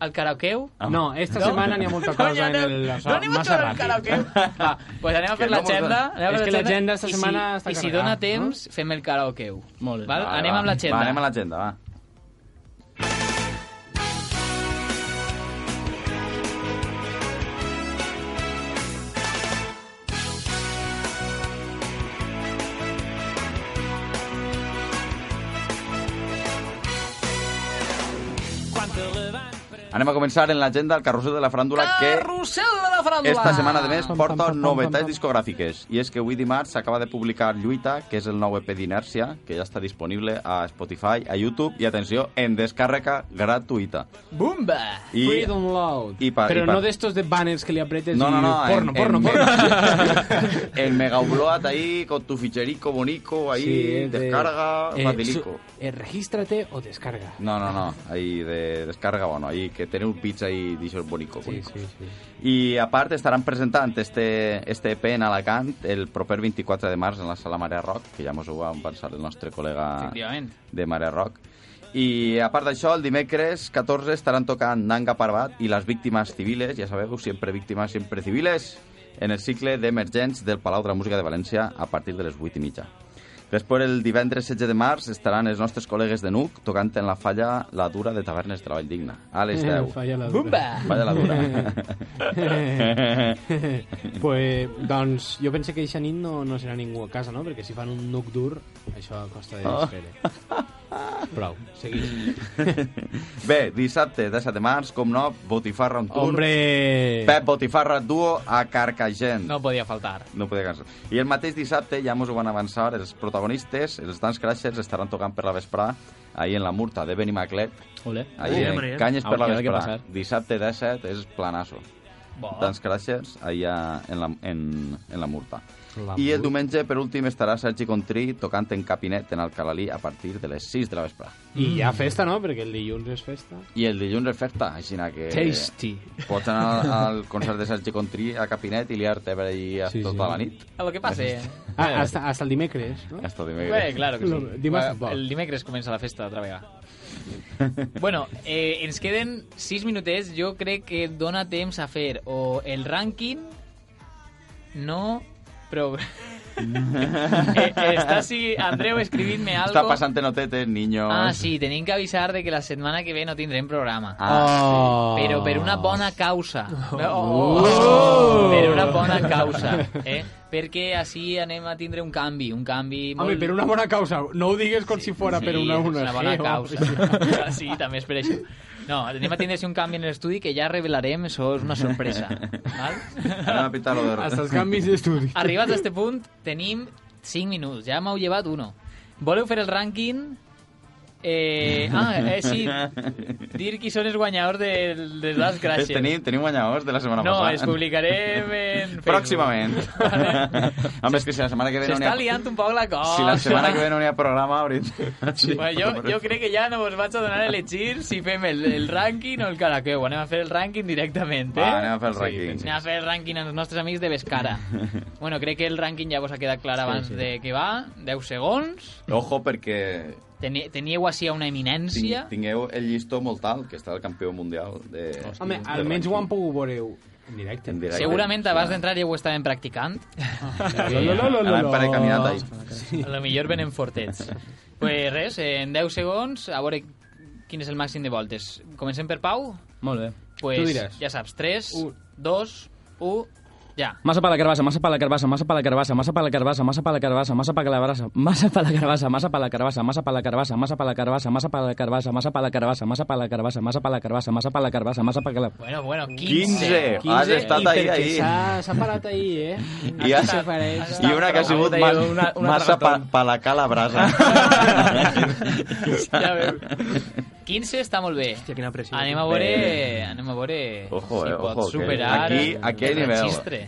S3: al karaokeu?
S6: Ah.
S5: No, esta setmana n'hi ha [laughs] molta cosa en el... O sea,
S3: anem a
S5: massa
S3: jugar al
S5: ràpid.
S3: karaokeu? Va,
S5: [laughs]
S3: pues anem a
S5: Que
S3: fer
S5: no
S3: l'agenda.
S5: mos-
S3: anem a fer
S5: És que l'agenda esta
S3: i
S5: setmana
S3: si,
S5: està
S3: I si
S5: carregada,
S3: dona temps, fem el karaokeu. Molt Val?
S4: Vale,
S3: anem
S4: va.
S3: amb l'agenda.
S4: Va, anem a l'agenda, va. Anem a començar en l'agenda el carrusel de la fràndula que
S3: Carrusel de la faràndula!
S4: esta setmana de més porta novetats discogràfiques i és que avui dimarts s'acaba de publicar Lluita que és el nou EP d'Inèrcia que ja està disponible a Spotify, a YouTube i atenció, en descàrrega gratuïta
S3: Bumba!
S4: I-
S5: Freedom Loud.
S4: i pa-
S5: Però
S4: i pa-
S5: no de estos de banners que li apretes
S4: No, no, no,
S5: i porno,
S4: en-
S5: porno,
S4: en-
S5: porno.
S4: [laughs] el megabloat ahí con tu ficherico bonico ahí,
S5: es de-
S4: descarga,
S5: eh,
S4: facilico
S5: su- eh, regístrate o descarga.
S4: No, no, no, ahí de descarga, bueno, ahí que tiene un pitch ahí, dicho bonico. bonico. I a part estaran presentant este, este EP en Alacant el proper 24 de març en la sala Marea Rock, que ja mos ho va pensar el nostre col·lega
S3: Efectivament.
S4: de Marea Rock. I a part d'això, el dimecres 14 estaran tocant Nanga Parbat i les víctimes civiles, ja sabeu, sempre víctimes, sempre civiles, en el cicle d'emergents del Palau de la Música de València a partir de les 8 i mitja. Després, el divendres 16 de març, estaran els nostres col·legues de NUC tocant en la falla La Dura de Tavernes de la Vall Digna, a les 10.
S5: Eh, [laughs] Falla la dura.
S3: Bumba!
S4: Falla La Dura.
S5: [laughs] pues, doncs, jo penso que eixa nit no, no serà ningú a casa, no? Perquè si fan un nuc dur, això costa de
S4: Ah.
S5: desfer. Prou, seguim.
S4: [laughs] Bé, dissabte 17 de març, com no, Botifarra on tour.
S5: Hombre!
S4: Pep Botifarra duo a Carcagent.
S3: No podia faltar.
S4: No podia cansar. I el mateix dissabte ja mos ho van avançar els protagonistes, els Dance Crashers estaran tocant per la vesprà ahir en la Murta de Benimaclet.
S12: Ole.
S4: Ahir
S12: Ole,
S4: en
S12: Maria.
S4: Canyes per la
S12: Ah, que no, que
S4: vesprà.
S12: passar.
S4: Dissabte 17 és planasso.
S12: Bo.
S4: Dance Crashers ahir a- en la, en, en la Murta.
S12: La
S4: I el
S12: Murta.
S4: diumenge, per últim, estarà Sergi Contrí tocant en Capinet en Alcalalí a partir de les 6 de la vesprà.
S5: I hi ha festa, no? Perquè el dilluns és festa.
S4: I el dilluns és festa, així que...
S5: Tasty.
S4: Pots anar al, al concert de Sergi Contrí a Capinet i liar-te per allí a sí, tota sí. la nit.
S3: A lo que pase.
S5: Ah, hasta, hasta el dimecres, no?
S4: Hasta dimecres.
S3: Bé, claro que sí.
S5: No, dimarts,
S3: Va,
S5: va.
S3: el dimecres comença la festa otra vegada. [laughs] bueno, eh, ens queden 6 minutets. Jo crec que dona temps a fer o el rànquing, no... Però... eh, està si Andreu escrivint-me algo.
S4: Està passant eh, notetes, niños.
S3: Ah, sí, tenim que avisar de que la setmana que ve no tindrem programa.
S4: Ah,
S5: sí.
S3: Però per una bona causa.
S5: Oh.
S3: Per una bona causa. Eh? Perquè així anem a tindre un canvi, un canvi molt...
S5: Home, per una bona causa. No ho digues com si fora per una, una, eh,
S3: és una bona
S5: sí,
S3: causa. Sí, [laughs] també és per això. No, anem a tindre així un canvi en l'estudi que ja revelarem, això és una sorpresa. Val?
S5: [laughs]
S4: Anem a pintar-lo de...
S5: Hasta els canvis d'estudi.
S3: Arribats a este punt, tenim 5 minuts. Ja m'heu llevat uno. Voleu fer el rànquing? Eh, ah, eh, sí, dir qui són els guanyadors del, dels Last
S4: Crashes.
S3: Crashes.
S4: Eh, Tenim, tenim guanyadors de la setmana
S3: No,
S4: passada.
S3: els publicarem en Facebook.
S4: Pròximament. Home, és que si la setmana que ve no n'hi
S3: S'està
S4: ha...
S3: liant un poc la cosa.
S4: Si la setmana que ve no n'hi ha programa, hauríem...
S3: Sí, bueno, jo, jo crec que ja no us vaig a donar a elegir si fem el, el rànquing o el caraqueu. Anem a fer el rànquing directament, eh?
S4: Va, anem a fer el rànquing.
S3: Anem a fer el rànquing als nostres amics de Bescara. bueno, crec que el rànquing ja vos ha quedat clar
S4: Sí,
S3: abans
S4: sí.
S3: de que va. 10 segons.
S4: Ojo, perquè
S3: Teni teníeu així a una
S4: ting
S3: eminència.
S4: tingueu el llistó molt alt, que està el campió mundial de...
S5: Home,
S4: de
S5: almenys ho han pogut veure en directe.
S4: En directe.
S3: Segurament abans d'entrar ja ho
S4: [laughs]
S3: estaven practicant.
S4: lo, lo, lo, lo, Anaven per la caminata, ahí.
S3: Sí. A lo millor venen fortets.
S12: [laughs]
S3: pues res, en 10 segons, a veure quin és el màxim de voltes. Comencem per Pau?
S12: Molt bé.
S3: Pues,
S12: Tu diràs.
S3: Ja saps, 3, 2, 1... Ja.
S12: Massa per la carbassa, massa per la carbassa, massa per la carbassa, massa per la carbassa, massa per la carbassa, massa per la carbassa, massa per la carbassa, massa per la carbassa, massa per la carbassa, massa per la carbassa, massa per la carbassa, massa per la carbassa, massa per la carbassa, massa per la carbassa, massa per la carbassa, massa per la
S3: Bueno, bueno, 15.
S4: 15. Has estat ahí, ahí.
S5: S'ha parat ahir, eh?
S4: I, has,
S5: Has
S4: I una que ha sigut
S5: estat-
S4: mas,
S5: una- una
S4: massa pa,
S5: tragatón.
S4: palacar la brasa.
S3: [laughs] Ja veus. 15 està molt bé. Hòstia, quina pressió. Anem a veure... Anem a veure...
S4: Ojo,
S3: si
S4: eh,
S3: pots
S4: ojo. que
S3: superar eh,
S4: aquí, aquí
S3: el
S4: hi ha nivell.
S3: registre.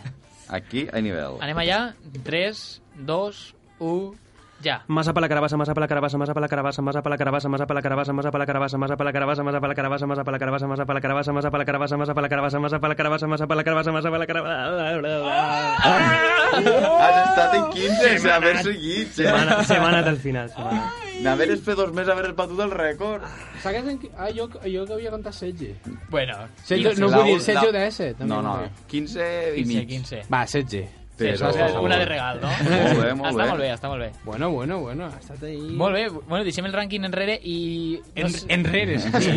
S4: Aquí hi ha nivell.
S3: Anem allà. 3, 2, 1... Ja.
S13: Massa per la carabassa, massa per la carabassa, massa per la carabassa, massa per la carabassa, massa per la carabassa, massa per la carabassa, massa per la carabassa, massa per la carabassa, massa per la carabassa, massa per la carabassa, massa per la carabassa, massa per la carabassa, massa per la carabassa, massa per la carabassa, massa per la carabassa...
S4: Oh! Has estat en 15, se haver seguit. eh. [laughs]
S13: Semana, semana del final. Semana.
S4: N'haver fet dos mesos haver batut el rècord.
S5: Saps en... qui- Ah, jo, jo que havia contat 16.
S3: Bueno,
S5: Setze- no vull dir 16 o 17. també.
S4: No, no, 15 i
S5: 15,
S4: mig.
S3: 15.
S5: Va, 16.
S4: Però-
S5: Sí, estàs
S3: Una de regal, no?
S4: Molt bé, molt
S3: està
S4: bé.
S3: molt bé, està molt bé.
S5: Bueno, bueno, bueno, ha estat ahí...
S3: Molt bé, bueno, deixem el rànquing enrere i...
S5: En- enrere,
S3: [laughs]
S5: sí.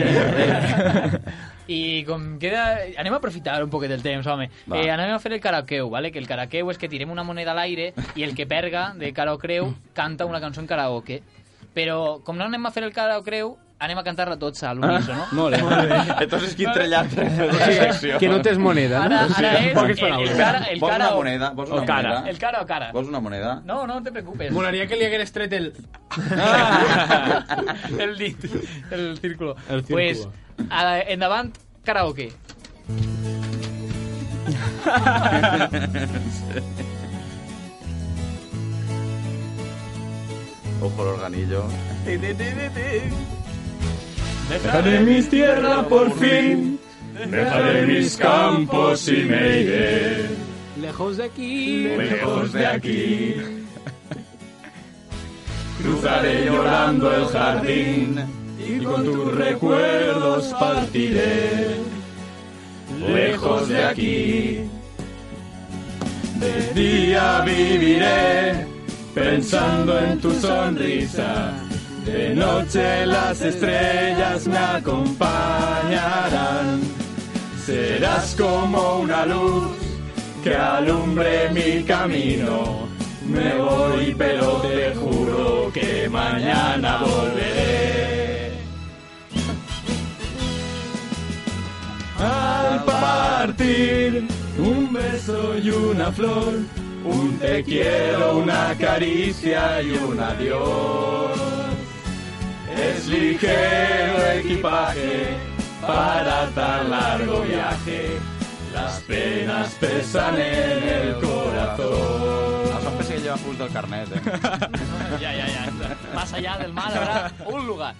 S3: I com queda... Anem a aprofitar un poquet del temps, home.
S4: Va.
S3: Eh, anem a fer el karaokeu, ¿vale? que el karaokeu és que tirem una moneda a l'aire i el que perga de karaokeu canta una cançó en karaoke. Però com no anem a fer el karaokeu, anem a cantar-la tots a
S12: Ah,
S3: l'unísono.
S4: [laughs]
S12: molt bé. Molt
S3: [laughs]
S12: bé. Entonces,
S4: quin [laughs] trellat
S5: Que no tens moneda, no?
S3: Ara,
S5: O sigui,
S3: ara és
S5: poques
S3: el, el
S5: paraules.
S3: cara, el
S4: Vols
S3: cara
S4: una
S3: o-
S4: moneda? Vols una
S3: o cara.
S4: moneda?
S3: El cara o cara.
S4: Vols una moneda?
S3: No, no te preocupes.
S5: Molaria que li hagués tret
S3: [laughs]
S5: el...
S3: el dit, el círculo.
S5: El círculo.
S4: [laughs]
S3: Pues, a, endavant, karaoke.
S4: Ojo el organillo.
S8: Dejaré mis tierras por fin,
S5: dejaré mis
S8: campos y
S5: me iré. Lejos de aquí.
S8: Lejos de
S5: [laughs]
S8: aquí.
S5: Cruzaré llorando el jardín
S8: y con tus recuerdos partiré. Lejos de aquí, de día viviré pensando en tu sonrisa. De noche las estrellas me acompañarán. Serás como una luz que alumbre mi camino. Me voy, pero te juro que mañana volveré. Al partir, un beso y una flor, un te quiero, una caricia y un adiós. Es ligero equipaje para tan largo viaje. Las penas pesan en el corazón.
S4: Els homes Ah, que lleva pus del carnet, eh?
S3: Ja, ja, ja. Más allá del mar habrá un lugar.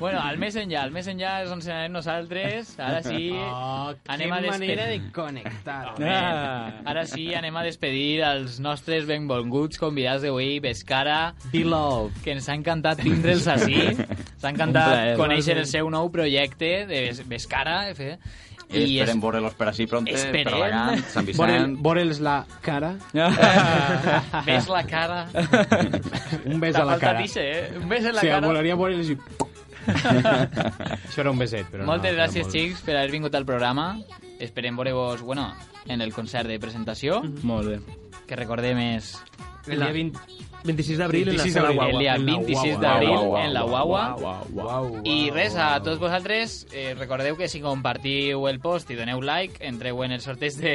S3: Bueno, al més enllà, al més enllà és on serem nosaltres. Ara sí,
S5: Oh,
S3: anem
S5: qué
S3: a despedir.
S5: manera de
S3: [laughs]
S5: conectar.
S3: Ah. Ara sí, anem a despedir els nostres benvolguts convidats d'avui, Pescara,
S5: Beloved,
S3: que ens ha encantat tindre'ls així. Ens ha
S4: Un
S3: encantat
S4: plaer.
S3: conèixer el seu nou projecte de Pescara. Eh?
S4: I esperem veure-los per així pronte,
S3: Esperem.
S4: per Alacant, [laughs] Sant
S5: Vorel-
S4: Vicent...
S5: Vore'ls la
S4: [laughs]
S5: cara.
S3: Ves la cara.
S5: Un bes
S3: T'ha
S5: a la
S3: faltat
S5: cara.
S3: ixe, eh? Un bes a la
S5: sí,
S3: cara.
S5: volaria vore'ls
S4: [laughs]
S5: i... Això era un beset, però
S3: Moltes
S5: no.
S3: gràcies, xics, per haver vingut al programa. Esperem veure-vos, bueno, en el concert de presentació.
S5: Mhm.
S3: Molt bé. Que recordem és...
S12: El dia 20 26 d'abril en la
S3: 26
S12: sala
S3: d'abril.
S12: Guagua.
S3: El dia
S12: En la
S3: 26
S12: Guagua.
S3: d'abril
S12: Guau, guau,
S3: en la
S12: guau,
S3: Guagua.
S12: guau,
S3: I res, a tots vosaltres, eh, recordeu que si compartiu el post i doneu like, entreu en el sorteig de,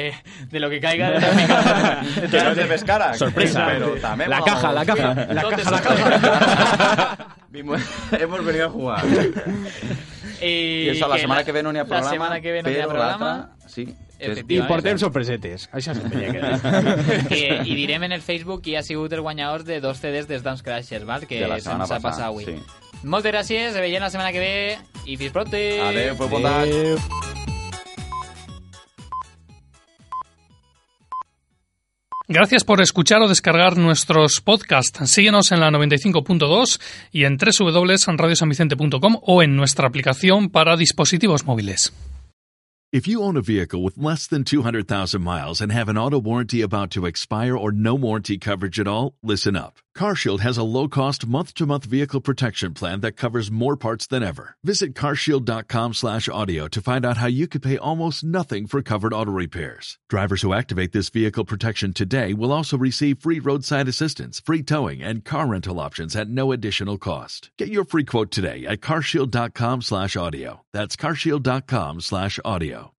S3: de lo que caiga. De la
S4: [laughs] Que no és de Pescara.
S3: Sorpresa.
S4: Però també...
S3: La
S4: vamos.
S3: caja, la caja. La
S4: Tot
S3: caja,
S4: és
S3: la
S4: [laughs]
S3: caja.
S4: Vimos- Hemos venido a [laughs] jugar.
S3: I,
S4: I això, la
S3: que
S4: setmana que ve no n'hi ha programa.
S3: La setmana que ve no n'hi ha
S4: però
S3: programa.
S4: l'altra, Sí.
S5: I portem sorpresetes. Això sempre hi ha
S3: [laughs]
S5: [laughs] que
S3: I, I direm en el Facebook qui ha sigut el guanyador de dos CDs dels Dance Crashers, val? que
S4: De la setmana
S3: se'ns ha
S4: passada,
S3: passat avui.
S4: sí.
S3: Moltes gràcies, ens veiem la setmana que ve i fins pronte!
S4: Adéu,
S5: pues
S4: feu bondat.
S1: Gracias por escuchar o descargar nuestros podcasts. Síguenos en la 95.2 y en www.radiosanvicente.com o en nuestra aplicación para dispositivos móviles.
S18: If you own a vehicle with less than 200,000 miles and have an auto warranty about to expire or no warranty coverage at all, listen up. CarShield has a low-cost month-to-month vehicle protection plan that covers more parts than ever. Visit carshield.com/audio to find out how you could pay almost nothing for covered auto repairs. Drivers who activate this vehicle protection today will also receive free roadside assistance, free towing, and car rental options at no additional cost. Get your free quote today at carshield.com/audio. That's carshield.com/audio.